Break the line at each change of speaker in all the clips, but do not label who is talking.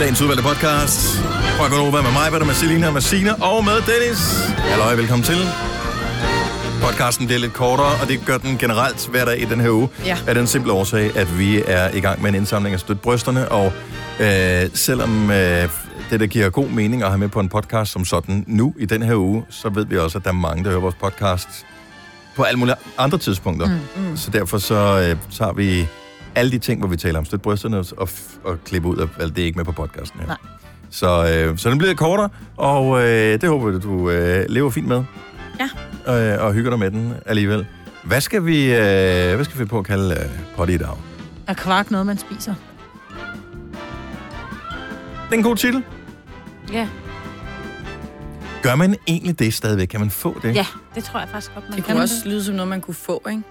Dagens udvalgte podcast. Fra Gonova med mig, med Selina, med Sina og med Dennis. Halløj, velkommen til. Podcasten bliver lidt kortere, og det gør den generelt hver dag i den her uge.
Ja.
Af den simple årsag, at vi er i gang med en indsamling af støt brysterne, og øh, selvom øh, det, der giver god mening at have med på en podcast som sådan nu i den her uge, så ved vi også, at der er mange, der hører vores podcast på alle mulige andre tidspunkter. Mm, mm. Så derfor så øh, tager vi alle de ting, hvor vi taler om støt brysterne, og, f- og klippe ud af alt det er ikke med på podcasten her.
Nej.
Så, øh, så den bliver kortere, og øh, det håber jeg, du øh, lever fint med.
Ja.
Øh, og hygger dig med den alligevel. Hvad skal vi, øh, hvad skal vi finde på at kalde øh, potty i dag? Det
Er kvark noget, man spiser?
er en god titel.
Ja.
Gør man egentlig det stadigvæk? Kan man få det?
ja, det tror jeg faktisk godt, man
Det
kan.
kunne også lyde som noget, man kunne få, ikke?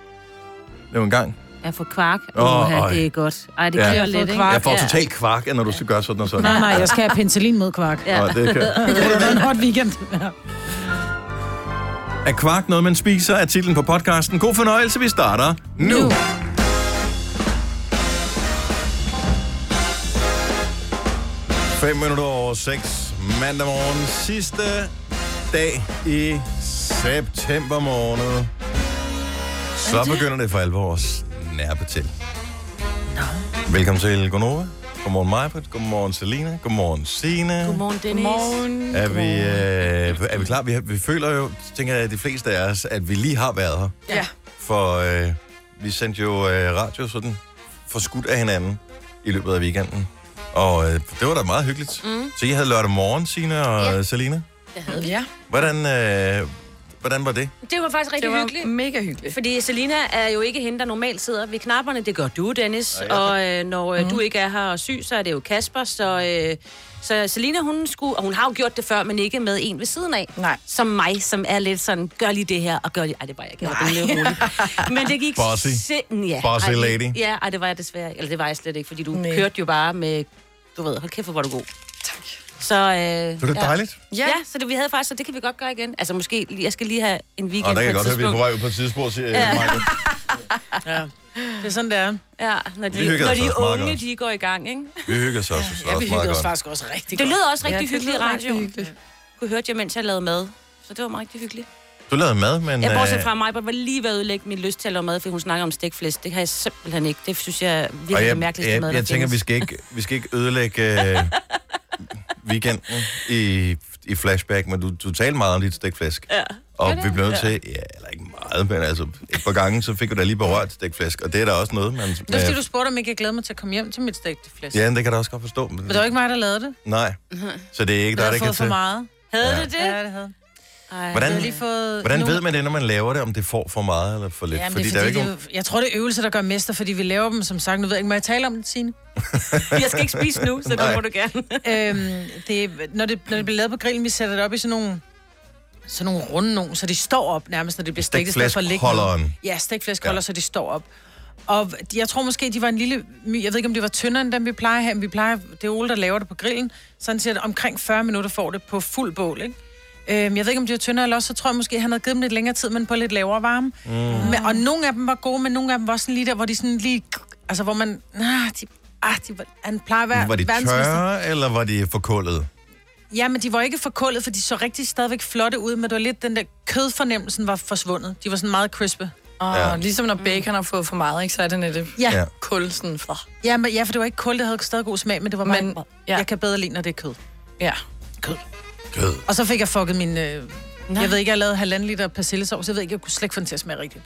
Det var en gang.
Ja, for kvark.
Åh,
Åh, oh,
øj.
det er godt. Ej, det
Ja.
klør
Jeg
ja.
har
lidt,
fået
ikke?
kvark.
Jeg får
ja.
totalt kvark, når du skal gøre sådan og sådan.
Nej, nej, jeg skal have penicillin mod kvark.
Ja.
Og det kan...
Det var en hot weekend.
Er kvark noget, man spiser? Er titlen på podcasten. God fornøjelse, vi starter nu. nu.
Nu.
Fem minutter over seks mandag morgen. Sidste dag i september måned. Så begynder det for alvor at snærpe til. Velkommen til Gonova. Godmorgen Majbert. Godmorgen Selina. Godmorgen Sine.
Godmorgen, Dennis.
Morgen.
Er vi, øh, er vi klar? Vi, har, vi føler jo, tænker jeg, de fleste af os, at vi lige har været her.
Ja.
For øh, vi sendte jo øh, radio sådan forskudt af hinanden i løbet af weekenden. Og øh, det var da meget hyggeligt. Mm. Så I havde lørdag morgen, Signe og ja. Selina.
Ja,
Hvordan, øh, hvordan var det?
Det var faktisk rigtig
det
var... hyggeligt.
var mega hyggeligt.
Fordi Selina er jo ikke hende, der normalt sidder ved knapperne. Det gør du, Dennis. Og øh, når
Mhm.
øh, du ikke er her og syg, så er det jo Kasper. Så, øh, så Selina, hun skulle... Og hun har jo gjort det før, men ikke med en ved siden af.
Nej.
Som mig, som er lidt sådan, gør lige det her, og gør lige... Ej, det var jeg ikke. Jeg var lidt rolig. Men det gik...
Bossy.
Sind... Ja.
Bossy
ej,
lady.
Ja, ej, det var jeg desværre... ikke. Eller det var jeg slet ikke, fordi du
Nej.
kørte jo bare med... Du ved, hold kæft, hvor var du god.
Tak.
Så, øh,
Var det dejligt?
Ja. ja, så det, vi havde faktisk, så det kan vi godt gøre igen. Altså måske, lige- jeg skal lige have en weekend
Og der kan
på
jeg
et
godt høre, at vi er på
tidspunkt.
vej ud på et tidsspor, siger ja.
Det er sådan, det er.
Ja, når de,
Vi hyggede
når
os
de
altså også meget
unge,
godt.
de går i gang, ikke?
Vi hygger os også. Ja,
Ja, vi
også meget
hyggede os
godt.
faktisk også rigtig
Det
godt.
lød også rigtig
det
hyggeligt i
lød rigtig
radioen.
hyggeligt.
Kunne hørte jeg, mens jeg lavede mad. Så det var meget rigtig hyggeligt.
Du lavede mad, men...
Jeg bortset
øh,
fra mig, var lige ved at ødelægge min lyst til at lave mad, fordi hun snakker om stikflæsk. Det kan jeg simpelthen ikke. Det synes jeg er virkelig
Og
jeg,
jeg,
det mærkeligste
jeg,
mad,
jeg,
der
jeg tænker, vi
findes.
skal ikke, vi skal ikke ødelægge øh, weekenden i, i flashback, men du, du talte meget om dit stikflæsk. Ja. Og vi blev nødt til, ja, eller ikke meget, men altså et par gange, så fik du da lige berørt stikflæsk, og det er da også noget, man... øh,
Det er fordi, du spurgte, om ikke jeg glæder mig til at komme hjem til mit stegte flæsk.
Ja, men det kan jeg da også godt forstå. Men,
Men det var ikke mig, der lavede det.
Nej, så det er ikke
Jeg
dig, der
har
kan
fået for
til.
meget.
Havde
Ja.
du det?
Ja, det havde.
Ej,
Hvordan-
Jeg har lige fået
Hvordan
nogle-
ved man det, når man laver det, om det får for meget eller for lidt?
Jamen, fordi det er, fordi,
jo
det er jo, jeg tror, det er øvelser, der gør mester, fordi vi laver dem, som sagt. Nu ved jeg ikke, må jeg tale om det, Signe?
Jeg skal ikke spise nu, så det
Nej.
må du gerne.
øhm, det, er- når, det, når det bliver lavet på grillen, vi sætter det op i sådan nogle, sådan nogle runde nogen, så de står op nærmest, når det bliver stegt. i stedet for at ligge ned.
Stikflæskholderen.
Ja, stikflæskholder,
Ja.
ja. så de står op. Og de- jeg tror måske, de var en lille... my- Jeg ved ikke, om det var tyndere end dem, vi plejer her, men vi plejer... Det er Ole, der laver det på grillen. Sådan siger det, omkring 40 minutter får det på fuld bål, ikke? Øhm, jeg ved ikke, om de var tyndere eller også, så tror jeg måske, han havde givet dem lidt længere tid, men på lidt lavere varme. Mm. Men, og nogle af dem var gode, men nogle af dem var sådan lige der, hvor de sådan lige... Altså, hvor man... Ah, de, ah, de, var- han plejer at være
Var de
verdensmester.
tørre, eller var de forkullet?
Ja, men de var ikke forkullet, for de så rigtig stadigvæk flotte ud, men det var lidt den der kødfornemmelsen var forsvundet. De var sådan meget crispe.
Og
Ja.
ja. ligesom når bacon har fået for meget, ikke, så er det netop
Ja,
Ja.
ja.
kul sådan for.
ja, men, ja for det var ikke kul, det havde stadig god smag, men det var
Men-
meget... Ja.
ja.
Jeg kan bedre lide, når det er kød.
Ja.
Kød.
Og så fik jeg fucket min... Øh, jeg ved ikke, jeg lavede halvanden liter persillesovs, jeg ved ikke, jeg kunne slet ikke få den til at smage rigtigt.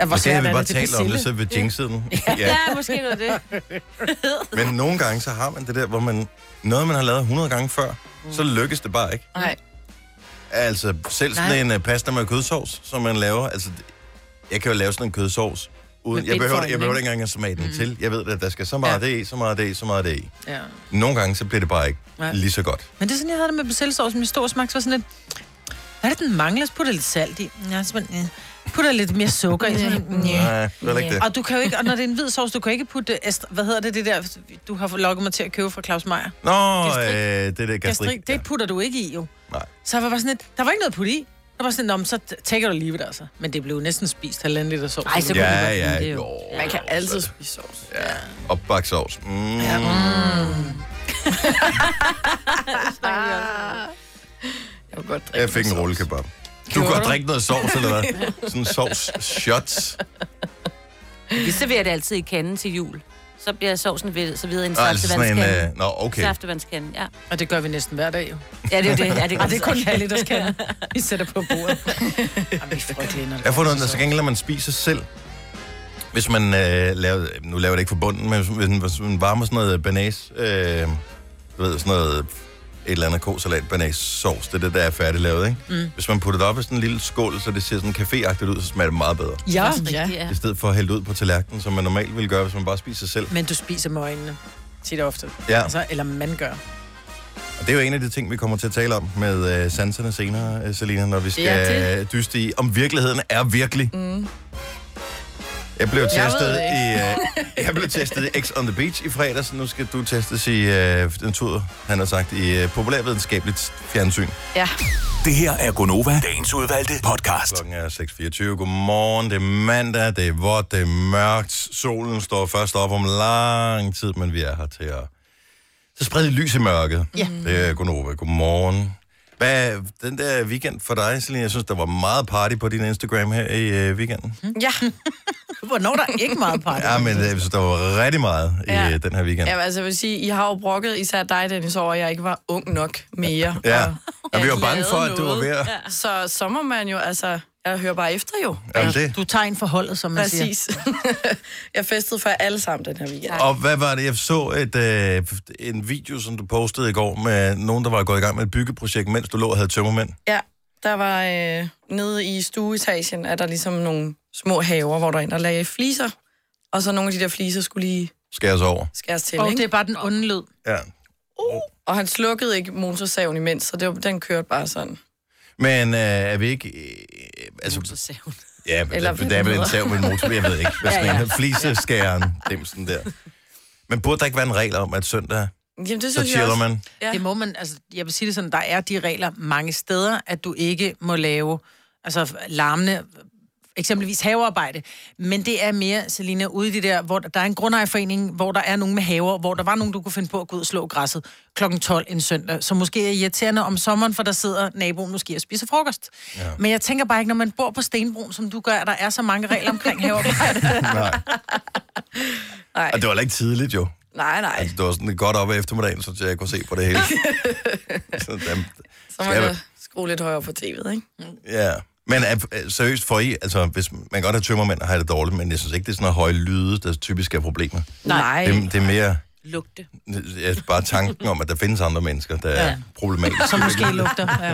Jeg var
Og det har
svært,
vi
er
bare
det til
talt om
persille.
det, så vi jinxede den. Ja.
Ja, måske noget af det.
Men nogle gange, så har man det der, hvor man noget, man har lavet 100 gange før, så lykkes det bare ikke.
Nej.
Altså, selv sådan en uh, pasta med kødsovs, som man laver, altså, jeg kan jo lave sådan en kødsovs, uden,
Med
jeg behøver, jeg
bindformen,
behøver
ikke?
ikke engang at smage den til. Jeg ved, at der skal så meget af det i, så meget af det i, så meget af det i.
Ja.
Nogle gange, så bliver det bare ikke
Nej.
lige så godt.
Men det er sådan, jeg havde det med persillesovs, min store smag, så var sådan lidt... Hvad er det, den mangler? Så putter jeg lidt salt i. Ja, så man, øh. putter jeg lidt mere sukker i. Så, man, øh.
Nej, det er heller ikke det.
Og du kan jo ikke, og når det er en hvid sovs, du kan ikke putte, est- hvad hedder det, det der, du har lokket mig til at købe fra Claus Meier.
Nå,
Gastrik.
øh, det der gastrik.
Gastrik, det putter du ikke i jo.
Nej.
Så jeg var bare sådan lidt, der var ikke noget at putte i. var bare sådan, Nå, men så tækker du lige ved det, altså. Men det blev jo næsten spist halvanden liter sovs.
Ej, så kunne Ja, det godt ja, blive det, jo. jo.
Man kan altid spise sovs.
Ja. Opbagt sovs. Mm. Ja,
Mm.
Jeg vil godt drikke
Jeg fik en rullekebab. Du kan godt drikke noget sovs, eller hvad? Sådan sovs shots.
Vi serverer det altid i kanden til jul. Så bliver sovsen ved, så videre i en
Og altså sådan en...
saftevandskande.
Øh, nå, okay.
Saftevandskanden, ja.
Og det gør vi næsten hver dag, jo.
Ja, det er jo det. Ja, det,
Og det er kun halv liters kan. Vi sætter på bordet. Jamen, vi er frygtelige, når det
Jeg har fundet
kommer
ud af,
til
så gengæld, at man spiser selv. Hvis man øh, laver, nu laver jeg det ikke for bunden, men hvis- hvis man, hvis man varmer sådan noget banæs, øh, du ved, sådan noget, et eller andet kosalat, banæs, sovs, det er det, der er færdiglavet, ikke? Mm. Hvis man putter det op i sådan en lille skål, så det ser sådan caféagtigt ud, så smager det meget bedre.
sovs. Ja, ja.
I stedet for at hælde det ud på tallerkenen, som man normalt ville gøre, hvis man bare spiser selv.
Men du spiser med øjnene. Tit og ofte.
Ja.
Altså, eller man gør.
Og det er jo en af de ting, vi kommer til at tale om med øh, sanserne senere, øh, Selina, når vi skal øh, dyste i, om virkeligheden er virkelig.
Mm.
Jeg blev
Jeg ved
testet
det
i,
ikke.
øh, jeg blev testet i X on the Beach i fredags. Nu skal du testes i øh, den tur, han har sagt, i øh, populærvidenskabeligt fjernsyn.
Ja.
Det her er Gonova, dagens udvalgte podcast. Klokken er 6.24. Godmorgen, det er mandag, det er vådt, det er mørkt. Solen står først op om lang tid, men vi er her til at... Så sprede lidt lys i mørket.
Ja.
Det er Gonova. Godmorgen. Hvad er den der weekend for dig, Selina? Jeg synes, der var meget party på din Instagram her i øh, weekenden.
Ja.
Hvornår er der ikke meget party?
Ja, men øh, jeg synes, der var rigtig meget i
Ja.
ja. den her weekend.
Ja, altså jeg vil sige, I har jo brokket, især dig, Dennis, over, at jeg ikke var ung nok mere.
Ja,
Og
og vi var
jeg
bange
lavede
for, at du var
noget.
ved at...
Ja. Så, så må man jo, altså, jeg hører bare efter jo.
Jamen det.
Du tager en forholdet, som man siger.
Præcis. jeg festede for jer alle sammen den her weekend.
Og hvad var det? Jeg så et, øh, en video, som du postede i går med nogen, der var gået i gang med et byggeprojekt, mens du lå og havde tømmermænd.
Ja, der var øh, nede i stueetagen, er der ligesom nogle små haver, hvor der er en, der lagde fliser. Og så nogle af de der fliser skulle lige
Skærer sig over.
skæres til,
Og
ikke?
det er bare den onde lyd.
Ja.
Og han slukkede ikke motorsaven imens, så det var, den kørte bare sådan.
Men øh, er vi ikke... Øh, altså,
Motorsaven.
Ja, men
Eller
Eller det er vel en sav med en motor, jeg ved ikke. Hvad sådan
Ja, ja.
en fliseskæren, dem sådan der. Men burde der ikke være en regel om, at søndag,
Jamen,
så chiller man?
Ja. Det må man, altså, jeg vil sige det sådan, der er de regler mange steder, at du ikke må lave altså, larmende, eksempelvis havearbejde. Men det er mere, Selina, ude i det der, hvor der der er en grundejerforening, hvor der er nogen med haver, hvor der var nogen, du kunne finde på at gå ud og slå græsset kl. 12 en søndag, som måske er irriterende om sommeren, for der sidder naboen måske og spiser frokost. Ja. Men jeg tænker bare ikke, når man bor på Stenbroen, som du gør, at der er så mange regler omkring havearbejde.
Nej.
Nej.
Og det var heller ikke tidligt, jo.
Nej, nej.
Altså, det var sådan godt op af eftermiddagen, så jeg kunne se på det hele. så, dem,
Så må
Skal
jeg
jeg-
skrue lidt højere på tv'et, ikke?
ja. Men er, er- seriøst, for I, altså, hvis man kan godt har tømmermænd og har det dårligt, men jeg synes ikke, det er sådan noget høje lyde, der typisk er problemer.
Nej.
Det, det er mere
Lugte.
ja, bare tanken om, at der findes andre mennesker, der ja. er
Ja.
problematiske.
Som måske lugter.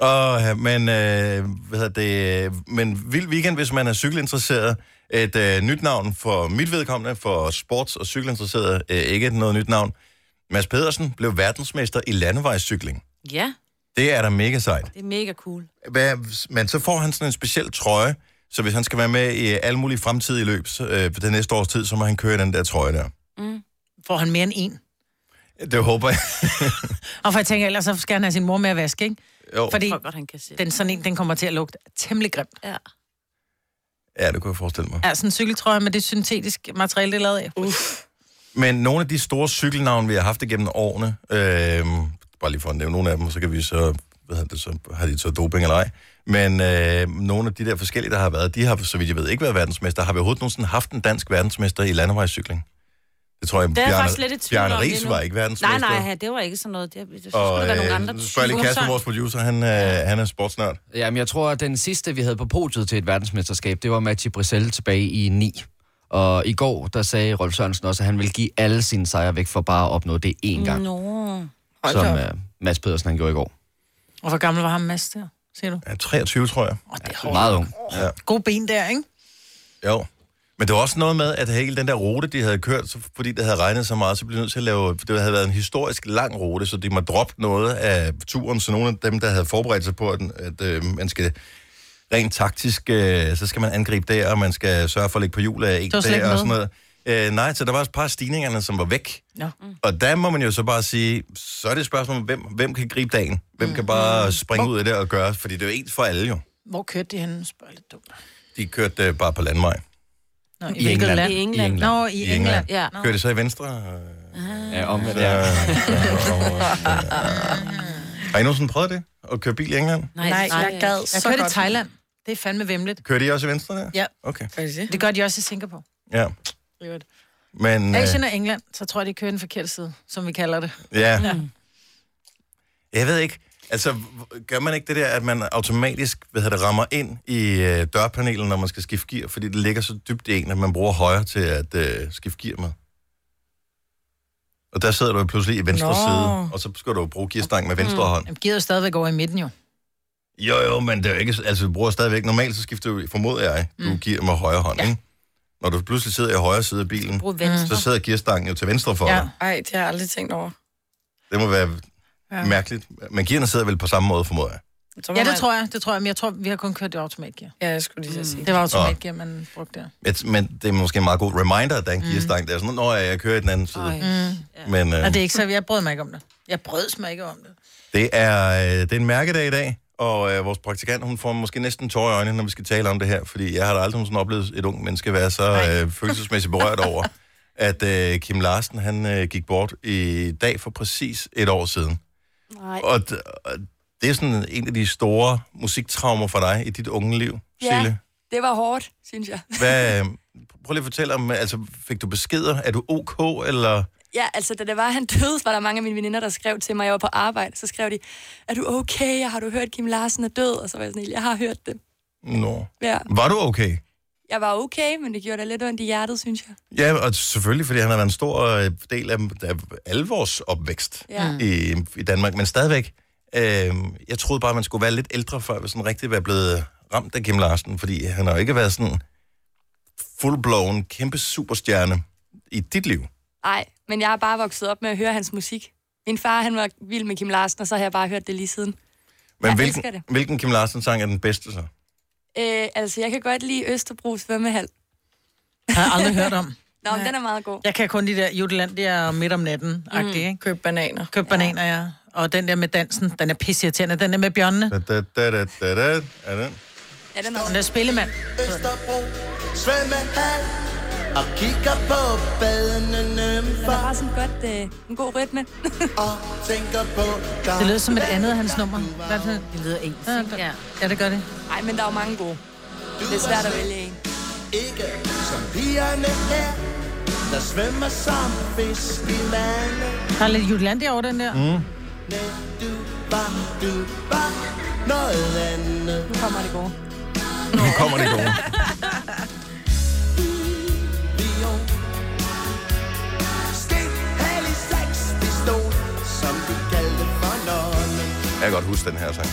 Ja.
Og, ja, men, øh, hvad hedder det, øh, men vild weekend, hvis man er cykelinteresseret. Et øh, nyt navn for mit vedkommende, for sports- og cykelinteresseret, øh, ikke et noget nyt navn. Mads Pedersen blev verdensmester i landevejscykling.
Ja,
Det er da mega sejt.
det er mega cool.
Hvad, men så får han sådan en speciel trøje, så hvis han skal være med i alle mulige fremtidige løb så, øh, det næste års tid, så må han køre i den der trøje der.
Får han mere end en?
Det håber jeg.
Og for jeg tænker, ellers så skal han have sin mor med at vaske, ikke?
Jo.
Fordi
Jeg tror godt, han kan se.
den, sådan en, den kommer til at lugte temmelig grimt.
Ja.
Ja, det kunne jeg forestille mig.
Ja, sådan en cykeltrøje med det syntetisk materiale, det er lavet af.
Uff.
Men nogle af de store cykelnavne, vi har haft igennem årene, øh, bare lige for at nævne nogle af dem, så kan vi så, hvad hedder det, så har de så doping eller ej. Men øh, nogle af de der forskellige, der har været, de har, så vidt jeg ved, ikke været verdensmester. Har vi overhovedet nogensinde haft en dansk verdensmester i landevejscykling? Det tror jeg,
Det er jeg faktisk lidt i tvivl
Bjarne
om lige
Ries
nu.
var ikke verdensmester.
Nej, nej, ja, det var ikke sådan noget. Det, det, det
Og
skulle der nogle andre
øh, spørg lige Kasper, vores producer, han, øh, han er sportsnørd.
Jamen, jeg tror, at den sidste, vi havde på podiet til et verdensmesterskab, det var Mathieu Brissel tilbage i 9. Og i går, der sagde Rolf Sørensen også, at han ville give alle sine sejre væk for bare at opnå det én gang,
Nå.
Hold
som
da op.
uh, Mads Pedersen han gjorde i går.
Og hvor gammel var ham Mads der, siger du?
Ja, 23, tror jeg.
Åh, det er hårdt.
Meget ung.
God ben der, ikke?
Jo. Men det var også noget med, at hele den der rute, de havde kørt, så fordi det havde regnet så meget, så blev de nødt til at lave... for Det havde været en historisk lang rute, så de må droppe noget af turen, så nogle af dem, der havde forberedt sig på, at, at øh, man skal rent taktisk, øh, så skal man angribe der, og man skal sørge for at ligge på hjul af en
var slet
der,
ikke
og
med.
sådan noget. Øh, nej, så der var også et par af stigningerne, som var væk.
Nå.
Og der må man jo så bare sige, så er det et spørgsmål, om, hvem, hvem kan gribe dagen? Hvem
Mm.
kan bare springe ud af det og gøre? Fordi det er jo ens for alle jo.
Hvor kørte de henne? Spørg lidt dumt.
De kørte øh, bare på landvej.
Nå, I,
I
hvilket
England.
land?
I England.
England.
Nå, i,
I
I
England.
England.
Ja.
Kørte de så i venstre? Øh,
Ja, om,
Så,
ja.
Har I nogensinde prøvet det? At køre bil i England?
Nej, jeg gad
Jeg
så
kørte i
godt.
Thailand. Det er fandme vemmeligt.
Kører de også i venstre der?
Ja.
Okay,
Gør de det?
Det gør de også i Singapore.
ja. Men, øh,
Asien og England, så tror jeg, de kører den forkerte side, som vi kalder det.
ja. Jeg ved ikke. Altså, h- gør man ikke det der, at man automatisk hvad hedder det, rammer ind i øh, dørpanelen, når man skal skifte gear, fordi det ligger så dybt i en, at man bruger højre til at øh, skifte gear med? Og der sidder du jo pludselig i venstre
Nå.
side, og så skal du jo bruge gearstangen med venstre hånd.
Jamen, gider jo stadigvæk over i midten jo.
Jo, jo, men det er jo ikke... Altså, vi bruger stadigvæk... Normalt så skifter du, formoder jeg, du giver med højre hånd, ja. ikke? Når du pludselig sidder i højre side af bilen,
Brug venstre.
så sidder gearstangen jo til venstre for ja.
Ja.
dig.
Ej, det har jeg aldrig tænkt over.
Det må være ja. mærkeligt. Men gearne sidder vel på samme måde, formoder jeg.
Så må
Ja, det
man-
tror jeg. Mm. Det tror jeg, men jeg tror, vi har kun kørt det automatgear.
Ja, jeg skulle lige til at sige.
Det var automatgear, man brugte der.
Et, men det er måske en meget god reminder, at der er en gearstang. Det er sådan, når jeg, jeg kører i den anden side.
Ej.
Mm.
Men øh,
Og det
det...
er ikke så, jeg brød mig ikke om det. Jeg brød mig ikke om det.
Det, er, øh, det er en mærkedag i dag, og øh, vores praktikant, hun får måske næsten tårer i øjnene, når vi skal tale om det her, fordi jeg har da aldrig nogensinde oplevet et ung menneske være så øh, følelsesmæssigt berørt over, at øh, Kim Larsen, han øh, gik bort i dag for præcis et år siden.
Nej.
Og, d- og det er sådan en af de store musiktraumer for dig i dit unge liv,
Ja.
Sille.
Det var hårdt, synes jeg.
Hvad, øh, prøv lige at fortælle om, altså fik du beskeder? Er du ok, eller...
Ja, altså da det var, han døde, var der mange af mine veninder, der skrev til mig, jeg var på arbejde, så skrev de, er du okay, og har du hørt, Kim Larsen er død? Og så var jeg sådan, helt, jeg har hørt det.
Nå.
Ja.
Var du okay?
Jeg var okay, men det gjorde da lidt ondt i hjertet, synes jeg.
Ja, og selvfølgelig, fordi han har været en stor øh, del af, af alle vores opvækst
Ja.
mm. i, i Danmark, men stadigvæk, øh, jeg troede bare, man skulle være lidt ældre, før vi sådan rigtig var blevet ramt af Kim Larsen, fordi han har jo ikke været sådan full-blown, kæmpe superstjerne i dit liv.
Nej, men jeg har bare vokset op med at høre hans musik. Min far, han var vild med Kim Larsen, og så har jeg bare hørt det lige siden.
Men
Jeg
hvilken,
elsker det.
hvilken Kim Larsen-sang er den bedste så?
Øh, altså, jeg kan godt lide Østerbro svømmehal.
Jeg har aldrig hørt om.
Nå, men den er meget god.
Jeg kan kun de der Jutland, det er midt om natten mm. ikke?
Køb bananer.
Køb bananer, ja. Og den der med dansen, den er pissirriterende. Den der med bjørnene.
Da, da, da, da, da, da. Er den?
Ja, den er
Den der spillemand.
Vesterbro svømmehal og kigger på badende
Der
nymfer
er bare sådan godt, øh, en god rytme.
og tænker på dig.
Det lød som et andet af hans nummer. Hvad er det? Det lyder ens. Ja,
Ja.
ja, det gør det.
Nej, men der er jo mange gode. Det er svært at vælge en.
Ikke som pigerne her, der svømmer som fisk i vandet.
Der er lidt Jutland over den der. Mm.
Næ, du var, du var noget andet.
Nu kommer det gode.
Nu kommer det gode.
Lyon. Stik hal i seks pistol, som de kaldte for nonne.
Jeg kan godt huske den her sang.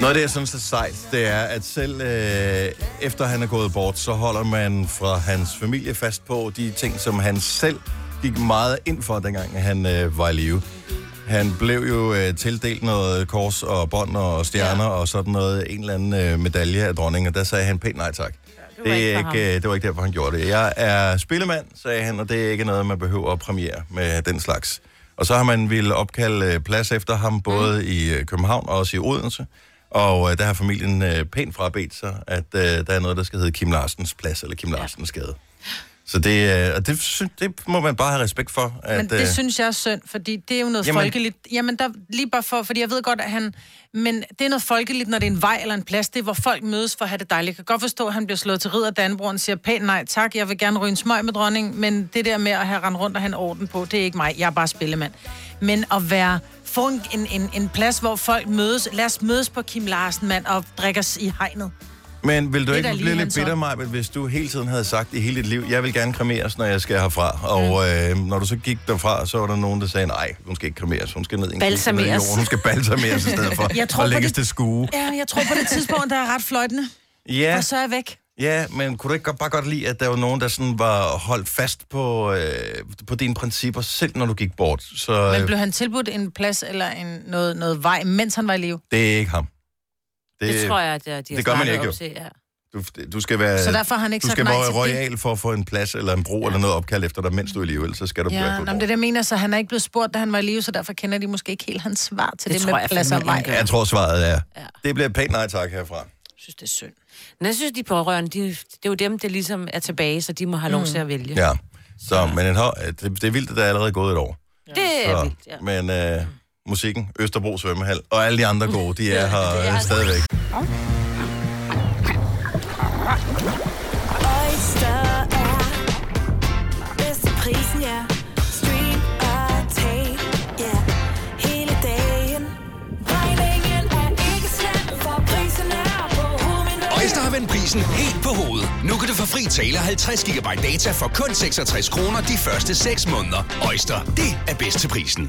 Noget af det, jeg synes er sejt, det er, at selv øh, efter han er gået bort, så holder man fra hans familie fast på de ting, som han selv gik meget ind for, dengang han øh, var i live. Han blev jo øh, tildelt noget kors og bånd og stjerner ja. og sådan noget, en eller anden øh, medalje af dronningen, og der sagde han pænt nej tak. Ja, det,
ikke
er
for
ikke, øh, det var ikke derfor, han gjorde det. Jeg er spillemand, sagde han, og det er ikke noget, man behøver at premiere med den slags. Og så har man ville opkalde øh, plads efter ham, både mm. i øh, København og også i Odense. Og øh, der har familien øh, pænt frabedt sig, at øh, der er noget, der skal hedde Kim Larsens Plads eller Kim Larsens Gade. Så det, øh, og det, sy- det må man bare have respekt for. At,
Men det
øh,
synes jeg er synd, fordi det er jo noget
Jamen-
jamen, folkeligt. Jamen, der, lige bare for, fordi jeg ved godt, at han... Men det er noget folkeligt, når det er en vej eller en plads. Det er, hvor folk mødes for at have det dejligt. Jeg kan godt forstå, at han bliver slået til ridder Danbroen og siger pænt nej tak, jeg vil gerne ryge en smøg med dronningen, men det der med at have rendt rundt og have en orden på, det er ikke mig. Jeg er bare spillemand. Men at være få en, en, en, en plads, hvor folk mødes. Lad os mødes på Kim Larsen, mand, og drikkes i hegnet.
Men vil
Det
du
er
ikke
da lige
blive lidt
hans
bitter, Maja, hvis du hele tiden havde sagt i hele dit liv, jeg vil gerne kremeres, når jeg skal herfra, og øh,
Mm.
når du så gik derfra, så var der nogen, der sagde, nej, hun skal ikke kremeres, hun skal ned i en kiste ned i
Balsameres.
jorden, hun skal balsameres i stedet for,
Jeg tror
og
på
lægges
det-
til skue.
Ja, jeg tror på det tidspunkt, der er ret fløjtende.
Ja,
Og så er jeg væk.
ja, men kunne du ikke godt, bare godt lide, at der var nogen, der sådan var holdt fast på, øh, på dine principper, selv når du gik bort? Så
Men
øh,
blev han tilbudt en plads eller en, noget, noget vej, mens han var i live?
det er ikke ham.
Det tror jeg, at de har
det gør man
snakket
ikke,
op
jo.
Til, ja.
Du, du skal være,
Så derfor har han ikke
Øh,
sagt
du skal
nej
være
til det?
royal for at få en plads eller en bro ja. eller noget opkald efter dig, mens du er i live, ellers så skal du ja,
Ja,
være
nå,
på
men det er
bro.
det, jeg mener, så han er ikke blevet spurgt, da han var i live, så derfor kender de måske ikke helt hans svar til det,
Det
det
tror
med
jeg
plads og
fandme
vej.
ikke, han
Jeg
Jeg tror, svaret er, ja. det bliver et pænt nej tak herfra.
synes, det er synd.
Men jeg synes, de pårørende, de, det er jo dem, der ligesom er tilbage, så de må have lov
Mm.
til at vælge.
Ja. Så, men en, hår- det, det er vildt, at der er allerede gået et år.
Det er
Så,
vildt, ja.
men øh, musikken, Østerbro Svømmehal og alle de andre gode, de er her øh, stadigvæk.
Oyster er bedst til prisen, ja. Stream og tag, ja. Hele dagen. Regningen er ikke slem, for prisen er på hovedet.
Øjster har vendt prisen helt på hovedet. Nu kan du få fri tale 50 GB data for kun 66 kroner de første 6 måneder. Øjster, det er bedst til prisen.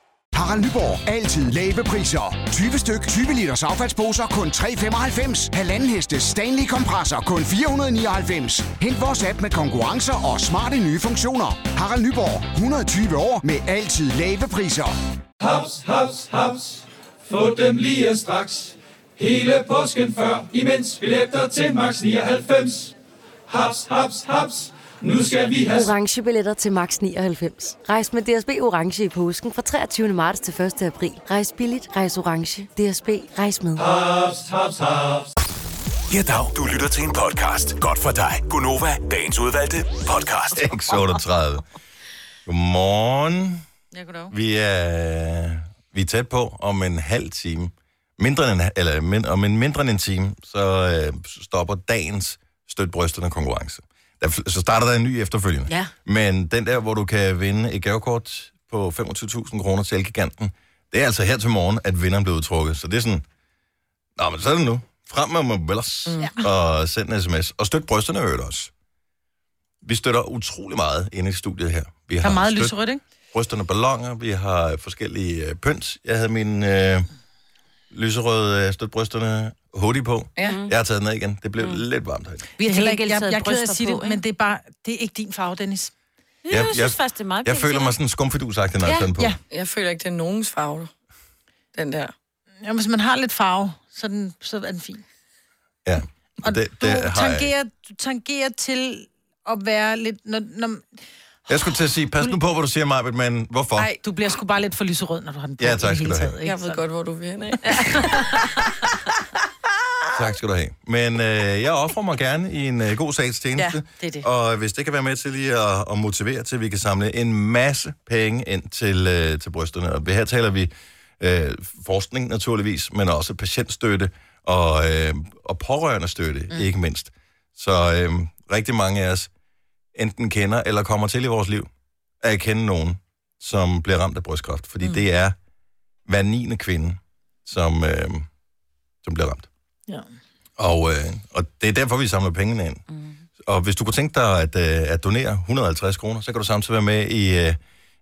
Harald Nyborg. Altid lave priser. 20 styk, 20 liters affaldsposer kun 3,95. Halvanden heste Stanley kompresser kun 499. Hent vores app med konkurrencer og smarte nye funktioner. Harald Nyborg. 120 år med altid lave priser.
Haps, haps, haps. Få dem lige straks. Hele påsken før, imens billetter til max 99. Haps, haps, haps. Nu skal vi have
altså-
Orange billetter til max 99. Rejs med DSB Orange i påsken fra 23. marts til 1. april. Rejs billigt, rejs orange. DSB, rejs med.
haps, haps, haps.
Ja, dag. Du lytter til en podcast. Godt for dig. Gunova, dagens udvalgte podcast.
638. Godmorgen.
Jeg kunne dog.
Vi er, vi er tæt på om en halv time. Mindre end, en- eller min, om en mindre end en time, så øh, stopper dagens støt brysterne konkurrence. Der, fl- så starter der en ny efterfølgende.
Ja.
Men den der, hvor du kan vinde et gavekort på 25.000 kroner til Elgiganten, det er altså her til morgen, at vinderen bliver udtrukket. Så det er sådan, nå, men så er det nu. Frem med mobiles mm. og send en sms. Og støt brysterne i øvrigt også. Vi støtter utrolig meget inde i studiet her. Vi
Der er meget
støt-
lyserødt, ikke?
brysterne ballonger, vi har forskellige øh, pynt. Jeg havde min øh, lyserøde øh, støt brysterne hoodie på.
Ja.
Jeg har taget den af igen. Det blev mm. lidt varmt herinde.
Vi
Det er
har til
heller
gengæld
ikke, jeg,
taget
jeg er ked af at
bryster
sige det,
på,
men det er bare, det er ikke din farve, Dennis.
Ja, jeg, synes faktisk, det er meget
Jeg
pænt,
føler
ja.
mig sådan skumfidusagtig, når jeg tager den på.
ja.
Jeg føler ikke, det er nogens farve, den der.
Jamen, hvis man har lidt farve, så er den, så er den fin.
ja.
Og
det,
du,
det har jeg.
tangerer, du tangerer til at være lidt... Når, når,
jeg skulle til at sige, pas nu på, hvad du siger, Marbet, men hvorfor?
nej, du bliver sgu bare lidt for lyserød, når du har den på.
Ja,
i
tak
det
skal
hele
du have.
taget, ikke?
Jeg ved
Sådan.
godt, hvor du vil hen af.
Tak skal du have. Men øh, jeg offrer mig gerne i en øh, god sags tjeneste.
Ja, det er det.
Og hvis det kan være med til lige at, at motivere til, at vi kan samle en masse penge ind til, øh, til brysterne. Og her taler vi øh, forskning naturligvis, men også patientstøtte og, øh, og pårørende støtte, mm. ikke mindst. Så øh, rigtig mange af os enten kender eller kommer til i vores liv at kende nogen, som bliver ramt af brystkræft. Fordi mm. det er hver 9. kvinde, som, øh, som bliver ramt.
Ja.
Og, øh, og det er derfor, vi samler pengene ind. Mm. Og hvis du kunne tænke dig at, øh, at donere 150 kroner, så kan du samtidig være med i, øh,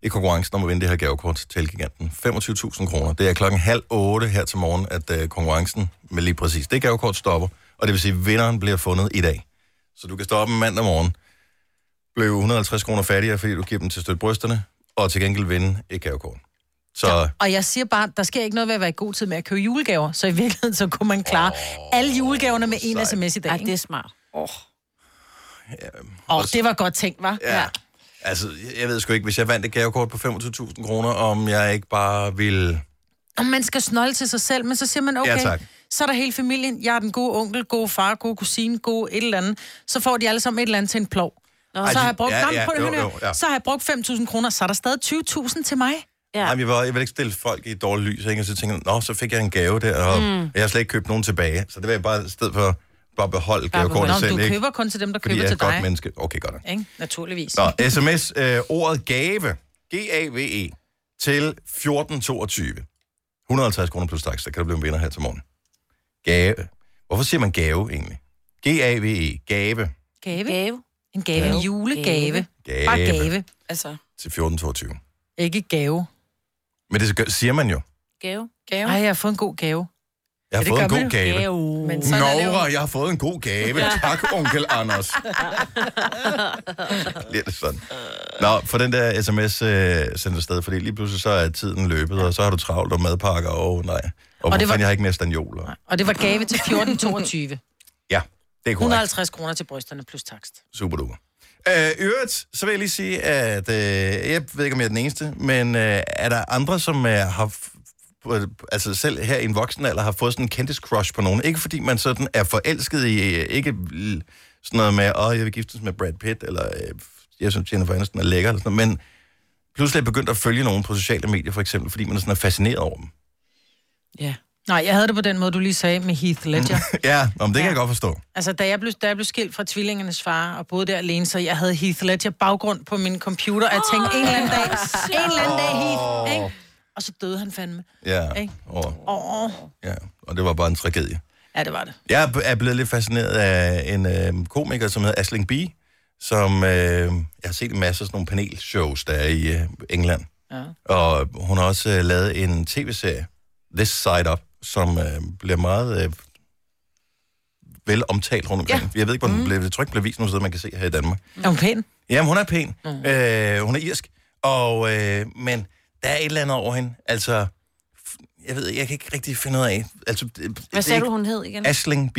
i konkurrencen om at vinde det her gavekort til giganten. 25.000 kroner. Det er klokken halv otte her til morgen, at øh, konkurrencen med lige præcis det gavekort stopper. Og det vil sige, at vinderen bliver fundet i dag. Så du kan stoppe mandag morgen, blive 150 kroner fattigere, fordi du giver dem til støtte brysterne, og til gengæld vinde et gavekort. Så ja.
Og jeg siger bare, der sker ikke noget ved at være i god tid med at købe julegaver, så i virkeligheden så kunne man klare oh, alle julegaverne med en
sejt.
sms i dag.
Ej,
Åh,
det er smart.
oh, det var godt tænkt, var.
Ja. Altså, jeg- jeg ved sgu ikke, hvis jeg vandt et gavekort på 25.000 kroner, om jeg ikke bare ville...
Og man skal snolde til sig selv, men så siger man, okay,
Ja, tak.
så er der hele familien. Jeg er den gode onkel, gode far, gode kusine, gode et eller andet. Så får de alle sammen et eller andet til en plov. Nå,
Ej,
så, har
de-
jeg brugt,
ja,
ja,
ja,
ja, på det,
jo,
hør nu.
jo, ja.
så har jeg brugt 5.000 kroner, så er der stadig 20.000 til mig.
Ja.
Ja. Jamen, jeg, vil, jeg vil ikke stille folk i et dårligt lys, ikke? og så tænker jeg, nå, så fik jeg en gave der, og mm. jeg har slet ikke købt nogen tilbage. Så det vil jeg bare, i stedet for bare beholde gavekortet
Nå,
selv,
men du
ikke?
køber kun til dem, der
fordi
køber
jeg er
til
et godt
dig.
menneske. Okay, godt. nok.
Ikke? Naturligvis.
Nå, sms, øh, ordet gave, G-A-V-E, E. til 1422. 150 kroner plus tax, så kan du blive en vinder her til morgen. Gave. Hvorfor siger man gave egentlig? G-A-V-E, E. gave.
Gave.
Gave.
En gave. En julegave.
Gave.
Bare gave.
Altså,
Til 1422.
Ikke gave.
Men det gør- siger man jo.
Gave.
Gave. Ej, jeg har fået en god gave.
Jeg har
Ja, det
fået en
gør vi
god
jo.
gave.
Gave. Men sådan er det jo.
Nora, jeg har fået en god gave.
Ja.
Tak, onkel Anders. Bliver det sådan. Nå, for den der sms øh, sendt afsted, fordi lige pludselig så er tiden løbet, og så har du travlt og madpakker, og nej. Og, og
det
det
var-
var... jeg har ikke mere standioler.
Og det var gave til 1422.
Ja, det er korrekt.
150 kroner til brysterne plus takst.
Super duper. Øh, i øvrigt, så vil jeg lige sige, at øh, jeg ved ikke, om jeg er den eneste, men øh, er der andre, som øh, har f- øh, altså selv her i en voksen alder, har fået sådan en kendis crush på nogen. Ikke fordi man sådan er forelsket i, øh, ikke l- sådan noget med, åh, jeg vil giftes med Brad Pitt, eller øh, jeg synes, Jennifer Aniston er lækker, eller sådan noget, men pludselig er begyndt at følge nogen på sociale medier, for eksempel, fordi man sådan er fascineret over dem.
Ja. Nej, jeg havde det på den måde, du lige sagde med Heath Ledger.
ja, om det ja. kan jeg godt forstå.
Altså, da jeg, blev, da jeg blev skilt fra tvillingernes far og boede der alene, så jeg havde Heath Ledger baggrund på min computer, og jeg tænkte, en eller anden dag, en eller anden dag Heath, ikke? Og så døde han fandme.
Ja,
Ikke?
og,
Åh,
ja, og det var bare en tragedie.
ja, det var det.
Jeg er- er blevet lidt fascineret af en øh, komiker, som hedder Asling B., som øh, jeg har set en masse af sådan nogle panelshows, der er i øh, England.
Ja.
Og hun har også øh, lavet en tv-serie, This Side Up, som øh, bliver meget øh, vel omtalt rundt omkring. Ja. Jeg ved ikke, hvor den blev, jeg tror ikke, den blev vist nogen steder, man kan se her i Danmark.
Er hun pæn?
Jamen, hun er pæn. Mm. Øh, hun er irsk. Og, øh, men der er et eller andet over hende. Altså, f- jeg ved, jeg kan ikke rigtig finde ud af. Altså, det- det er
Hvad sagde du,
ikke-
hun hed igen?
Asling B.